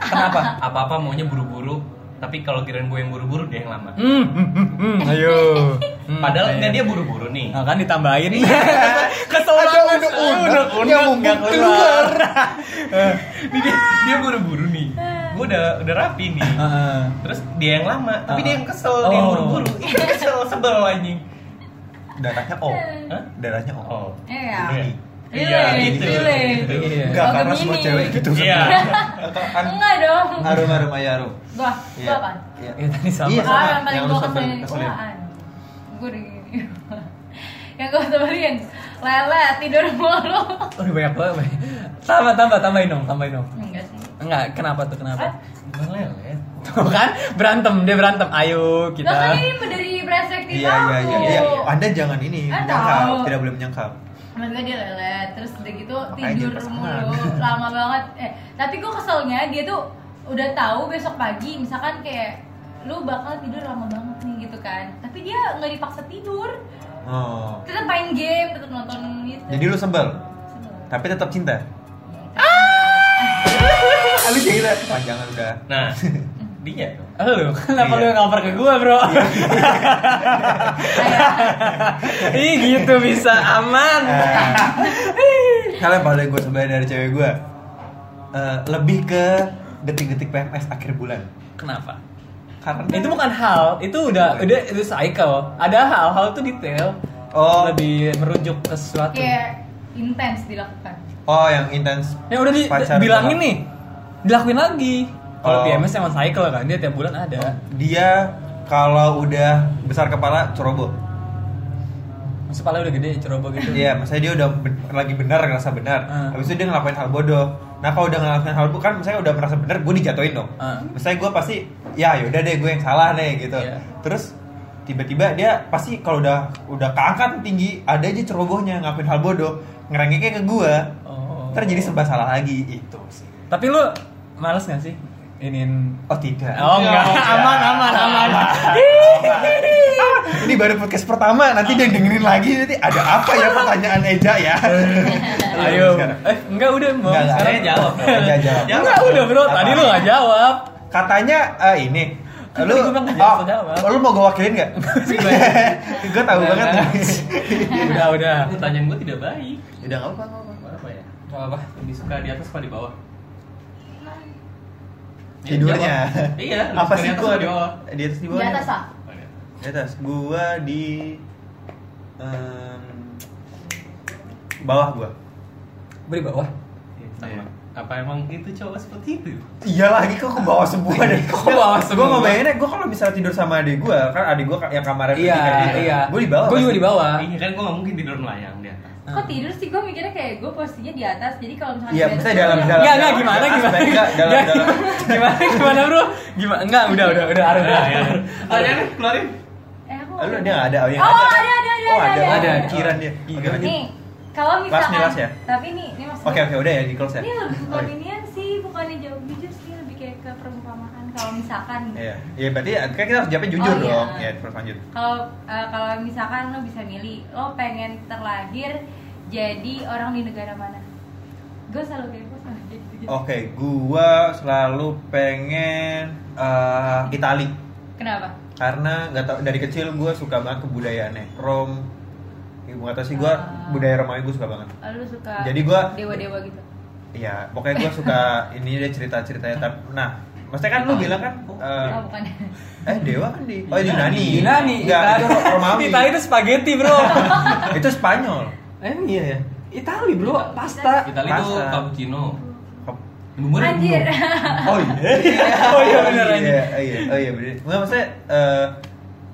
[SPEAKER 2] Kenapa?
[SPEAKER 3] Apa-apa maunya buru-buru. Tapi kalau kirain gue yang buru-buru dia yang lama.
[SPEAKER 2] Hmm, hmm, hmm, hmm, ayo. Hmm,
[SPEAKER 3] Padahal
[SPEAKER 2] ayo.
[SPEAKER 3] enggak dia buru-buru nih.
[SPEAKER 2] Nah, kan ditambahin. Kesel
[SPEAKER 1] Ada
[SPEAKER 2] banget.
[SPEAKER 1] unek-unek
[SPEAKER 2] Unek-unek
[SPEAKER 1] yang mumpung
[SPEAKER 2] nggak keluar.
[SPEAKER 3] Ini dia, dia buru-buru nih. Gue udah udah rapi nih.
[SPEAKER 2] Heeh.
[SPEAKER 3] Terus dia yang lama, tapi
[SPEAKER 2] Ah.
[SPEAKER 3] dia yang kesel, dia yang
[SPEAKER 2] Oh.
[SPEAKER 3] buru-buru. Ih, kesel sebel anjing.
[SPEAKER 1] darahnya O
[SPEAKER 3] Hah?
[SPEAKER 1] darahnya O
[SPEAKER 3] Oh.
[SPEAKER 4] Iya.
[SPEAKER 1] Ini.
[SPEAKER 3] Iya,
[SPEAKER 4] Relate,
[SPEAKER 3] gitu.
[SPEAKER 4] relate.
[SPEAKER 2] Iya.
[SPEAKER 1] enggak
[SPEAKER 4] Oh,
[SPEAKER 1] karena
[SPEAKER 4] Gemini.
[SPEAKER 1] semua cewek gitu
[SPEAKER 3] Iya.
[SPEAKER 1] Atau an-
[SPEAKER 4] Enggak dong.
[SPEAKER 1] arum arum ayo arum
[SPEAKER 4] Gua,
[SPEAKER 1] Iya.
[SPEAKER 4] gua apa?
[SPEAKER 1] Iya.
[SPEAKER 2] Ya tadi sama.
[SPEAKER 1] Iya,
[SPEAKER 4] Ah,
[SPEAKER 1] sama.
[SPEAKER 4] yang
[SPEAKER 1] Yang
[SPEAKER 4] paling gue
[SPEAKER 1] lu sebel-
[SPEAKER 4] kesel
[SPEAKER 1] keselin.
[SPEAKER 4] apaan? Gue udah gini. yang gue sebelin lele tidur mulu.
[SPEAKER 2] Udah banyak banget. Tambah, tambah, tambahin dong, tambahin dong.
[SPEAKER 4] Enggak sih.
[SPEAKER 2] Enggak, kenapa tuh
[SPEAKER 4] Ah,
[SPEAKER 2] kenapa?
[SPEAKER 3] Bukan lelet.
[SPEAKER 2] Tuh kan berantem, dia berantem. Ayo
[SPEAKER 4] Kita... kan
[SPEAKER 2] kita.
[SPEAKER 4] ini dari perspektif
[SPEAKER 1] iya iya
[SPEAKER 4] aku.
[SPEAKER 1] iya iya anda jangan ini
[SPEAKER 4] Ah,
[SPEAKER 1] menyangkal
[SPEAKER 4] tahu.
[SPEAKER 1] tidak boleh menyangkal
[SPEAKER 4] Maksudnya dia lelet, terus udah gitu
[SPEAKER 1] Makanya
[SPEAKER 4] tidur
[SPEAKER 1] dia pasangan.
[SPEAKER 4] mulu, lama banget. Eh, tapi gue keselnya dia tuh udah tahu besok pagi, misalkan kayak lu bakal tidur lama banget nih gitu kan. Tapi dia nggak dipaksa tidur,
[SPEAKER 1] oh
[SPEAKER 4] tetap main game, tetap nonton gitu.
[SPEAKER 1] jadi lu sebel
[SPEAKER 4] Sebel.
[SPEAKER 1] tapi tetap cinta
[SPEAKER 4] Iya.
[SPEAKER 1] Alis ya kita panjangan udah
[SPEAKER 3] Nah, dia tuh.
[SPEAKER 2] Lu, Oh, kenapa
[SPEAKER 1] Iya.
[SPEAKER 2] lu ngoper ke gua, Bro? Ih, gitu bisa aman.
[SPEAKER 1] Eh. Kalian paling gue sebenarnya dari cewek gue eh, lebih ke detik-detik PMS akhir bulan
[SPEAKER 2] Kenapa?
[SPEAKER 1] karena
[SPEAKER 2] Itu bukan hal, itu
[SPEAKER 1] Iya.
[SPEAKER 2] udah udah itu cycle. Ada hal-hal tuh detail.
[SPEAKER 1] Oh.
[SPEAKER 2] lebih merujuk ke sesuatu.
[SPEAKER 4] kayak intens dilakukan.
[SPEAKER 1] oh yang intens
[SPEAKER 2] Ya udah di,
[SPEAKER 1] Pacar
[SPEAKER 2] bilangin
[SPEAKER 1] sama-
[SPEAKER 2] nih. Dilakuin lagi. Kalau
[SPEAKER 1] Oh.
[SPEAKER 2] PMS emang cycle kan, dia tiap bulan ada.
[SPEAKER 1] dia kalau udah besar kepala ceroboh
[SPEAKER 2] Masih kepala udah gede, ceroboh gitu.
[SPEAKER 1] Iya, maksudnya dia udah ben- lagi benar ngerasa benar.
[SPEAKER 2] Hmm.
[SPEAKER 1] Habis itu dia ngelakuin hal bodoh. Nah, kalau udah ngelakuin hal bodoh kan misalnya udah merasa benar, gue dijatuhin dong.
[SPEAKER 2] Hmm.
[SPEAKER 1] Misalnya gue pasti ya yaudah deh gue yang salah nih gitu.
[SPEAKER 2] Iya.
[SPEAKER 1] Terus tiba-tiba dia pasti kalau udah udah keangkat tinggi, ada aja cerobohnya ngelakuin hal bodoh, ngerengeknya ke gue.
[SPEAKER 2] Oh.
[SPEAKER 1] Ntar jadi serba salah lagi itu sih.
[SPEAKER 2] Tapi lu males gak sih? Inin
[SPEAKER 1] Oh tidak.
[SPEAKER 2] Oh enggak, aman aman aman.
[SPEAKER 1] Iya, Ini baru podcast pertama, nanti dia dengerin lagi nanti ada apa ya pertanyaan Eja ya. iya.
[SPEAKER 2] Ayo. Eh, enggak udah mau.
[SPEAKER 1] Enggak, enggak.
[SPEAKER 2] sekarang.
[SPEAKER 3] Saya jawab.
[SPEAKER 1] Eja Iya, jawab.
[SPEAKER 2] Ya enggak udah, Bro. Tadi lu enggak jawab.
[SPEAKER 1] katanya eh, ini
[SPEAKER 2] Kan
[SPEAKER 1] lu
[SPEAKER 2] tadi gua bilang nggak
[SPEAKER 1] oh,
[SPEAKER 2] jawab.
[SPEAKER 1] lu mau gue wakilin nggak gue tahu
[SPEAKER 2] Nggak,
[SPEAKER 1] banget
[SPEAKER 2] nggak.
[SPEAKER 1] Iya.
[SPEAKER 2] Udah, udah.
[SPEAKER 3] Pertanyaan gue tidak baik.
[SPEAKER 1] udah nggak apa
[SPEAKER 3] Apa ya? Apa? Lebih suka di atas apa di bawah? Ya,
[SPEAKER 1] tidurnya
[SPEAKER 3] jawab. Iya,
[SPEAKER 1] apa
[SPEAKER 3] lebih suka
[SPEAKER 1] sih
[SPEAKER 3] di atas
[SPEAKER 1] gue di atas di
[SPEAKER 3] apa di bawah?
[SPEAKER 4] Di
[SPEAKER 1] bawah
[SPEAKER 4] atas ah.
[SPEAKER 1] di atas gue di em, bawah gue
[SPEAKER 2] Beri bawah.
[SPEAKER 3] Iya, Sama. apa emang itu cowok seperti itu
[SPEAKER 1] Iya lagi kok kebawa semua deh. Kok
[SPEAKER 2] kebawa
[SPEAKER 1] Gue
[SPEAKER 2] semua?
[SPEAKER 1] mau bayanginnya gue kalau misalnya tidur sama adik gue, kan adik gue yang kamarnya
[SPEAKER 2] Iya, iya.
[SPEAKER 1] Gue di bawah.
[SPEAKER 2] Gue juga
[SPEAKER 1] pasti.
[SPEAKER 2] di bawah.
[SPEAKER 3] iya kan gue nggak mungkin tidur melayang di atas
[SPEAKER 4] Kok tidur sih? Gue mikirnya kayak gue posisinya di atas, jadi kalau misalnya
[SPEAKER 1] Ah. Iya,
[SPEAKER 4] di atas
[SPEAKER 1] maksudnya
[SPEAKER 4] tuh
[SPEAKER 1] dalam
[SPEAKER 4] yang-
[SPEAKER 1] dalam.
[SPEAKER 2] Enggak, enggak gimana
[SPEAKER 1] dalam
[SPEAKER 2] gimana?
[SPEAKER 1] aspek, enggak, dalam-
[SPEAKER 2] Enggak,
[SPEAKER 1] dalam.
[SPEAKER 2] Gimana gimana, Bro? Gimana? Enggak, udah udah udah
[SPEAKER 1] Iya,
[SPEAKER 2] Arif.
[SPEAKER 3] Nah, ya. Oh, ya, nih, keluarin
[SPEAKER 4] Eh, aku
[SPEAKER 1] Lu dia nggak ada, oh, iya,
[SPEAKER 4] Oh,
[SPEAKER 1] nggak
[SPEAKER 4] ada, ada, ada,
[SPEAKER 1] Oh ada,
[SPEAKER 4] ada,
[SPEAKER 2] ada.
[SPEAKER 1] Pikiran dia. Iya,
[SPEAKER 2] Ada.
[SPEAKER 1] lanjut.
[SPEAKER 4] Nih, kalau
[SPEAKER 1] Las nih,
[SPEAKER 4] misalkan
[SPEAKER 1] las ya?
[SPEAKER 4] Tapi nih, ini maksudnya
[SPEAKER 1] Oke oke udah ya di close ya.
[SPEAKER 4] Ini lebih ke
[SPEAKER 1] Oke.
[SPEAKER 4] konvenian sih, bukannya jauh jujur sih lebih kayak ke permukaan kalau misalkan
[SPEAKER 1] Iya, iya berarti kan kita harus jawabnya jujur
[SPEAKER 4] Oh, iya.
[SPEAKER 1] dong. Ya terus lanjut.
[SPEAKER 4] kalau eh, kalau misalkan lo bisa milih lo pengen terlahir jadi orang di negara mana gue selalu kayak gue selalu kayak gitu,
[SPEAKER 1] Oke, gua selalu pengen eh Itali
[SPEAKER 4] kenapa
[SPEAKER 1] karena nggak tau dari kecil gua suka banget kebudayaannya Rom. Ibu nggak tau sih gua
[SPEAKER 4] Ah.
[SPEAKER 1] budaya Romawi gua suka banget.
[SPEAKER 4] lo suka
[SPEAKER 1] Jadi gua-
[SPEAKER 4] dewa dewa gitu
[SPEAKER 1] Iya, pokoknya gua suka ini dia cerita-ceritanya. tapi- Nah, maksudnya kan lu bilang kan eh,
[SPEAKER 4] oh bukan
[SPEAKER 1] eh dewa kan di oh Yunani.
[SPEAKER 2] Yunani,
[SPEAKER 1] Nggak,
[SPEAKER 2] Ita-
[SPEAKER 1] itu Romawi.
[SPEAKER 2] Ita itu spaghetti, Bro.
[SPEAKER 1] itu Spanyol.
[SPEAKER 2] Emang iya ya? Itali, Bro. Pasta.
[SPEAKER 3] Itali tuh
[SPEAKER 1] Pasta.
[SPEAKER 3] cappuccino
[SPEAKER 1] Kop-
[SPEAKER 3] Bumbunya
[SPEAKER 4] anjir
[SPEAKER 3] bumbu.
[SPEAKER 1] Oh iya.
[SPEAKER 2] Oh iya, bener, anjing.
[SPEAKER 1] Iya, oh iya, oh iya bener. Nggak, maksudnya eh,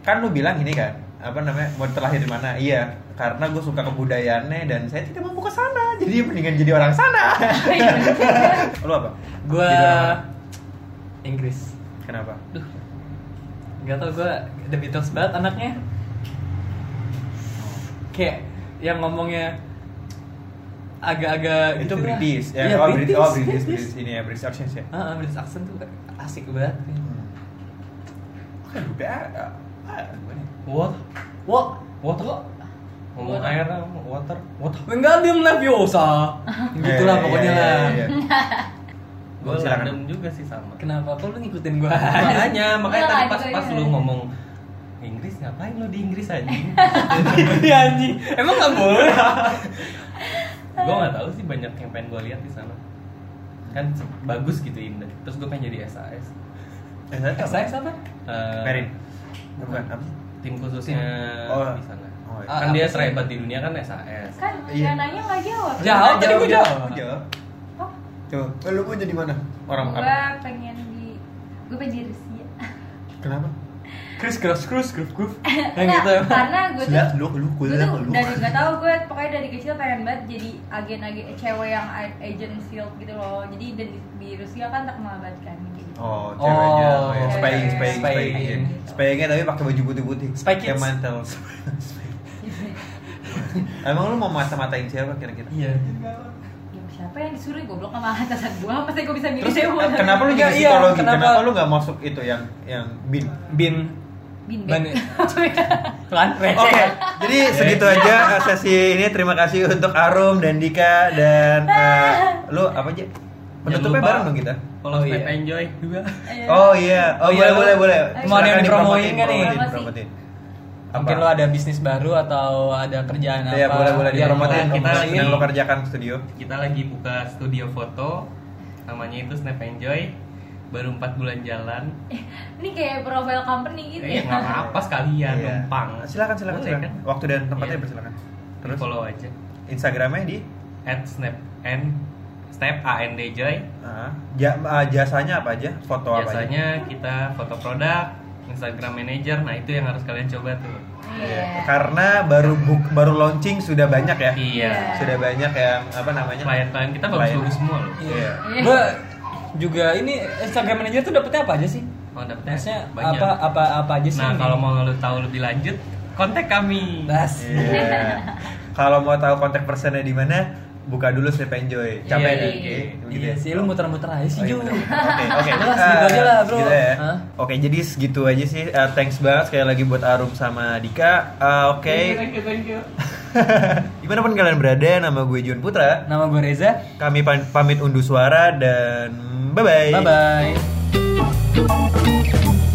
[SPEAKER 1] kan lu bilang ini kan, apa namanya? Mau terlahir di mana? Iya, karena gue suka kebudayaannya dan saya tidak mampu ke sana. Jadi mendingan jadi orang sana.
[SPEAKER 4] Iya.
[SPEAKER 1] lu apa?
[SPEAKER 2] Gua
[SPEAKER 1] Jadi orang mana?
[SPEAKER 2] Inggris.
[SPEAKER 1] Kenapa?
[SPEAKER 2] Gak tau gue The Beatles banget anaknya Kayak yang ngomongnya
[SPEAKER 1] itu
[SPEAKER 2] agak-agak gitu lah.
[SPEAKER 1] British. Ya,
[SPEAKER 2] Iya,
[SPEAKER 1] oh, British, oh, British, British, ini ya British accent ya.
[SPEAKER 2] Ah, ah, British accent tuh asik banget
[SPEAKER 1] Hmm. Kan udah ah, ah, gua nih.
[SPEAKER 3] what
[SPEAKER 2] Wah,
[SPEAKER 3] water ngomong
[SPEAKER 2] Water.
[SPEAKER 3] air ngomong water water
[SPEAKER 2] enggak dia Leviosa Gitu lah
[SPEAKER 1] Iya,
[SPEAKER 2] pokoknya
[SPEAKER 1] iya,
[SPEAKER 2] lah
[SPEAKER 1] iya, iya.
[SPEAKER 3] gue
[SPEAKER 1] Silakan.
[SPEAKER 3] random juga sih sama
[SPEAKER 2] Kenapa kok lu ngikutin gue?
[SPEAKER 3] makanya makanya
[SPEAKER 4] Iya,
[SPEAKER 3] tadi
[SPEAKER 4] lanjut
[SPEAKER 3] pas pas
[SPEAKER 4] aja.
[SPEAKER 3] lu ngomong Inggris ngapain lu di Inggris anjing
[SPEAKER 2] Iya anjing, emang gak boleh?
[SPEAKER 3] gue nggak tahu sih banyak yang pengen gue lihat di sana kan se- bagus gitu indah terus gue pengen jadi SAS
[SPEAKER 1] Eh, saya tahu.
[SPEAKER 2] Saya apa?
[SPEAKER 3] Eh,
[SPEAKER 1] Merin. Bukan. apa sih?
[SPEAKER 3] tim khususnya
[SPEAKER 1] Oh.
[SPEAKER 3] di sana
[SPEAKER 1] Oh, iya.
[SPEAKER 3] kan
[SPEAKER 2] Ah,
[SPEAKER 3] dia
[SPEAKER 2] apa sih?
[SPEAKER 3] terhebat di dunia kan SAS
[SPEAKER 4] kan
[SPEAKER 1] Iya.
[SPEAKER 4] iya. nanya nggak jawab
[SPEAKER 2] Jawab tadi
[SPEAKER 1] Jawab,
[SPEAKER 2] gue jawab
[SPEAKER 1] jawab.
[SPEAKER 4] oh
[SPEAKER 1] Coba, eh, lu mau jadi mana? Orang
[SPEAKER 4] gue
[SPEAKER 1] apa?
[SPEAKER 4] pengen di gue pengen jadi Rusia
[SPEAKER 1] Kenapa?
[SPEAKER 2] Chris Cross Cruz Groove Groove
[SPEAKER 1] Kan
[SPEAKER 2] Yang
[SPEAKER 4] Nggak,
[SPEAKER 2] gitu
[SPEAKER 1] ya.
[SPEAKER 2] emang
[SPEAKER 4] karena gue tuh
[SPEAKER 1] Sudah, lu lu
[SPEAKER 4] gue
[SPEAKER 1] kuliah
[SPEAKER 4] tuh
[SPEAKER 1] lu.
[SPEAKER 4] dari nggak tahu gue pokoknya dari kecil pengen banget jadi agen-agen cewek yang a- agent shield gitu loh jadi dan di, di Rusia kan terkenal banget kan kayak gitu.
[SPEAKER 1] Oh, ceweknya.
[SPEAKER 2] Oh,
[SPEAKER 1] Oh, ya. Spying, spying,
[SPEAKER 2] spying.
[SPEAKER 1] spying. Spyingnya tapi pakai baju putih-putih.
[SPEAKER 2] Spy Kids.
[SPEAKER 1] Kayak mantel. Emang lu mau mata-matain siapa kira-kira?
[SPEAKER 2] Iya
[SPEAKER 4] ya, siapa yang disuruh goblok sama atasan gue pasti gue bisa milih
[SPEAKER 1] Terus
[SPEAKER 4] cewek
[SPEAKER 1] eh, kenapa lu jadi
[SPEAKER 2] Iya, iya,
[SPEAKER 1] psikologi?
[SPEAKER 2] kenapa?
[SPEAKER 1] Kenapa lu nggak masuk itu yang yang bin?
[SPEAKER 2] Bin
[SPEAKER 4] bin
[SPEAKER 2] Bani-
[SPEAKER 4] bin
[SPEAKER 2] Lan
[SPEAKER 1] Oke, jadi segitu aja eh, sesi ini. Terima kasih untuk Arum dan Dika dan eh, lu apa aja? Penutupnya
[SPEAKER 3] lupa.
[SPEAKER 1] bareng dong kita.
[SPEAKER 2] Oh,
[SPEAKER 3] kalau Snap
[SPEAKER 2] iya.
[SPEAKER 3] Enjoy juga
[SPEAKER 1] Oh iya, oh,
[SPEAKER 2] Iya,
[SPEAKER 1] boleh
[SPEAKER 2] lu-
[SPEAKER 1] boleh boleh.
[SPEAKER 4] mau ada
[SPEAKER 1] Silakan
[SPEAKER 2] yang dipromoin
[SPEAKER 1] dipromotin,
[SPEAKER 2] nggak nih?
[SPEAKER 1] promotin,
[SPEAKER 4] Apa sih?
[SPEAKER 1] promotin.
[SPEAKER 2] Mungkin
[SPEAKER 1] Apa?
[SPEAKER 2] lo ada bisnis baru atau ada kerjaan
[SPEAKER 1] Iya
[SPEAKER 2] apa? Iya.
[SPEAKER 1] boleh boleh
[SPEAKER 2] yang
[SPEAKER 1] dipromotin
[SPEAKER 2] lo
[SPEAKER 1] kita
[SPEAKER 3] kita
[SPEAKER 2] lakuin.
[SPEAKER 3] lagi-
[SPEAKER 1] yang lo kerjakan studio.
[SPEAKER 3] kita lagi buka studio foto namanya itu Snap Enjoy baru 4 bulan jalan
[SPEAKER 4] ini kayak profile company gitu
[SPEAKER 3] eh nggak
[SPEAKER 4] ya
[SPEAKER 3] apa-apa sekalian
[SPEAKER 1] Iya.
[SPEAKER 3] numpang
[SPEAKER 1] Silakan silakan
[SPEAKER 3] Boleh,
[SPEAKER 1] silakan.
[SPEAKER 3] kan?
[SPEAKER 1] Waktu dan tempatnya
[SPEAKER 3] Iya.
[SPEAKER 1] bersilakan.
[SPEAKER 3] terus follow aja
[SPEAKER 1] Instagramnya di
[SPEAKER 3] at Snap N Snap A N D Joy
[SPEAKER 1] ah, ja- ah, jasanya apa aja? Foto apa aja?
[SPEAKER 3] biasanya kita foto produk Instagram manager nah itu yang harus kalian coba tuh
[SPEAKER 1] Iya.
[SPEAKER 4] iya
[SPEAKER 1] Karena baru book, baru launching sudah banyak ya.
[SPEAKER 3] iya
[SPEAKER 1] Sudah banyak yang apa namanya?
[SPEAKER 3] klien-klien kita
[SPEAKER 1] Klien.
[SPEAKER 3] bagus-bagus semua loh
[SPEAKER 1] Iya.
[SPEAKER 4] Iya.
[SPEAKER 2] Gue juga ini Instagram manager tuh dapetnya apa aja sih?
[SPEAKER 3] oh dapetnya
[SPEAKER 2] Maksudnya
[SPEAKER 3] banyak
[SPEAKER 2] apa apa apa aja sih?
[SPEAKER 3] nah kalau mau lu tahu lebih lanjut kontak kami
[SPEAKER 2] Bas.
[SPEAKER 1] Iya. Kalau mau tahu kontak personnya di mana, buka dulu Sleep Enjoy. Capek
[SPEAKER 3] Iya,
[SPEAKER 1] kan?
[SPEAKER 3] iya,
[SPEAKER 1] Gitu
[SPEAKER 2] Iya
[SPEAKER 1] ya?
[SPEAKER 2] sih, lu muter-muter aja sih,
[SPEAKER 1] Oh, iya,
[SPEAKER 2] Ju.
[SPEAKER 1] bener. Oke, oke.
[SPEAKER 2] Udah lah,
[SPEAKER 1] Ah,
[SPEAKER 2] segitu gitu aja lah, bro.
[SPEAKER 1] segitu ya.
[SPEAKER 2] Hah?
[SPEAKER 1] Oke, jadi segitu aja sih. Eh, thanks banget sekali lagi buat Arum sama Dika. Ah, oke.
[SPEAKER 3] thank you thank you
[SPEAKER 1] Dimanapun kalian berada, nama gue Jun Putra.
[SPEAKER 2] Nama gue Reza.
[SPEAKER 1] Kami pan- Iya, pamit unduh suara dan bye-bye.
[SPEAKER 2] Bye bye.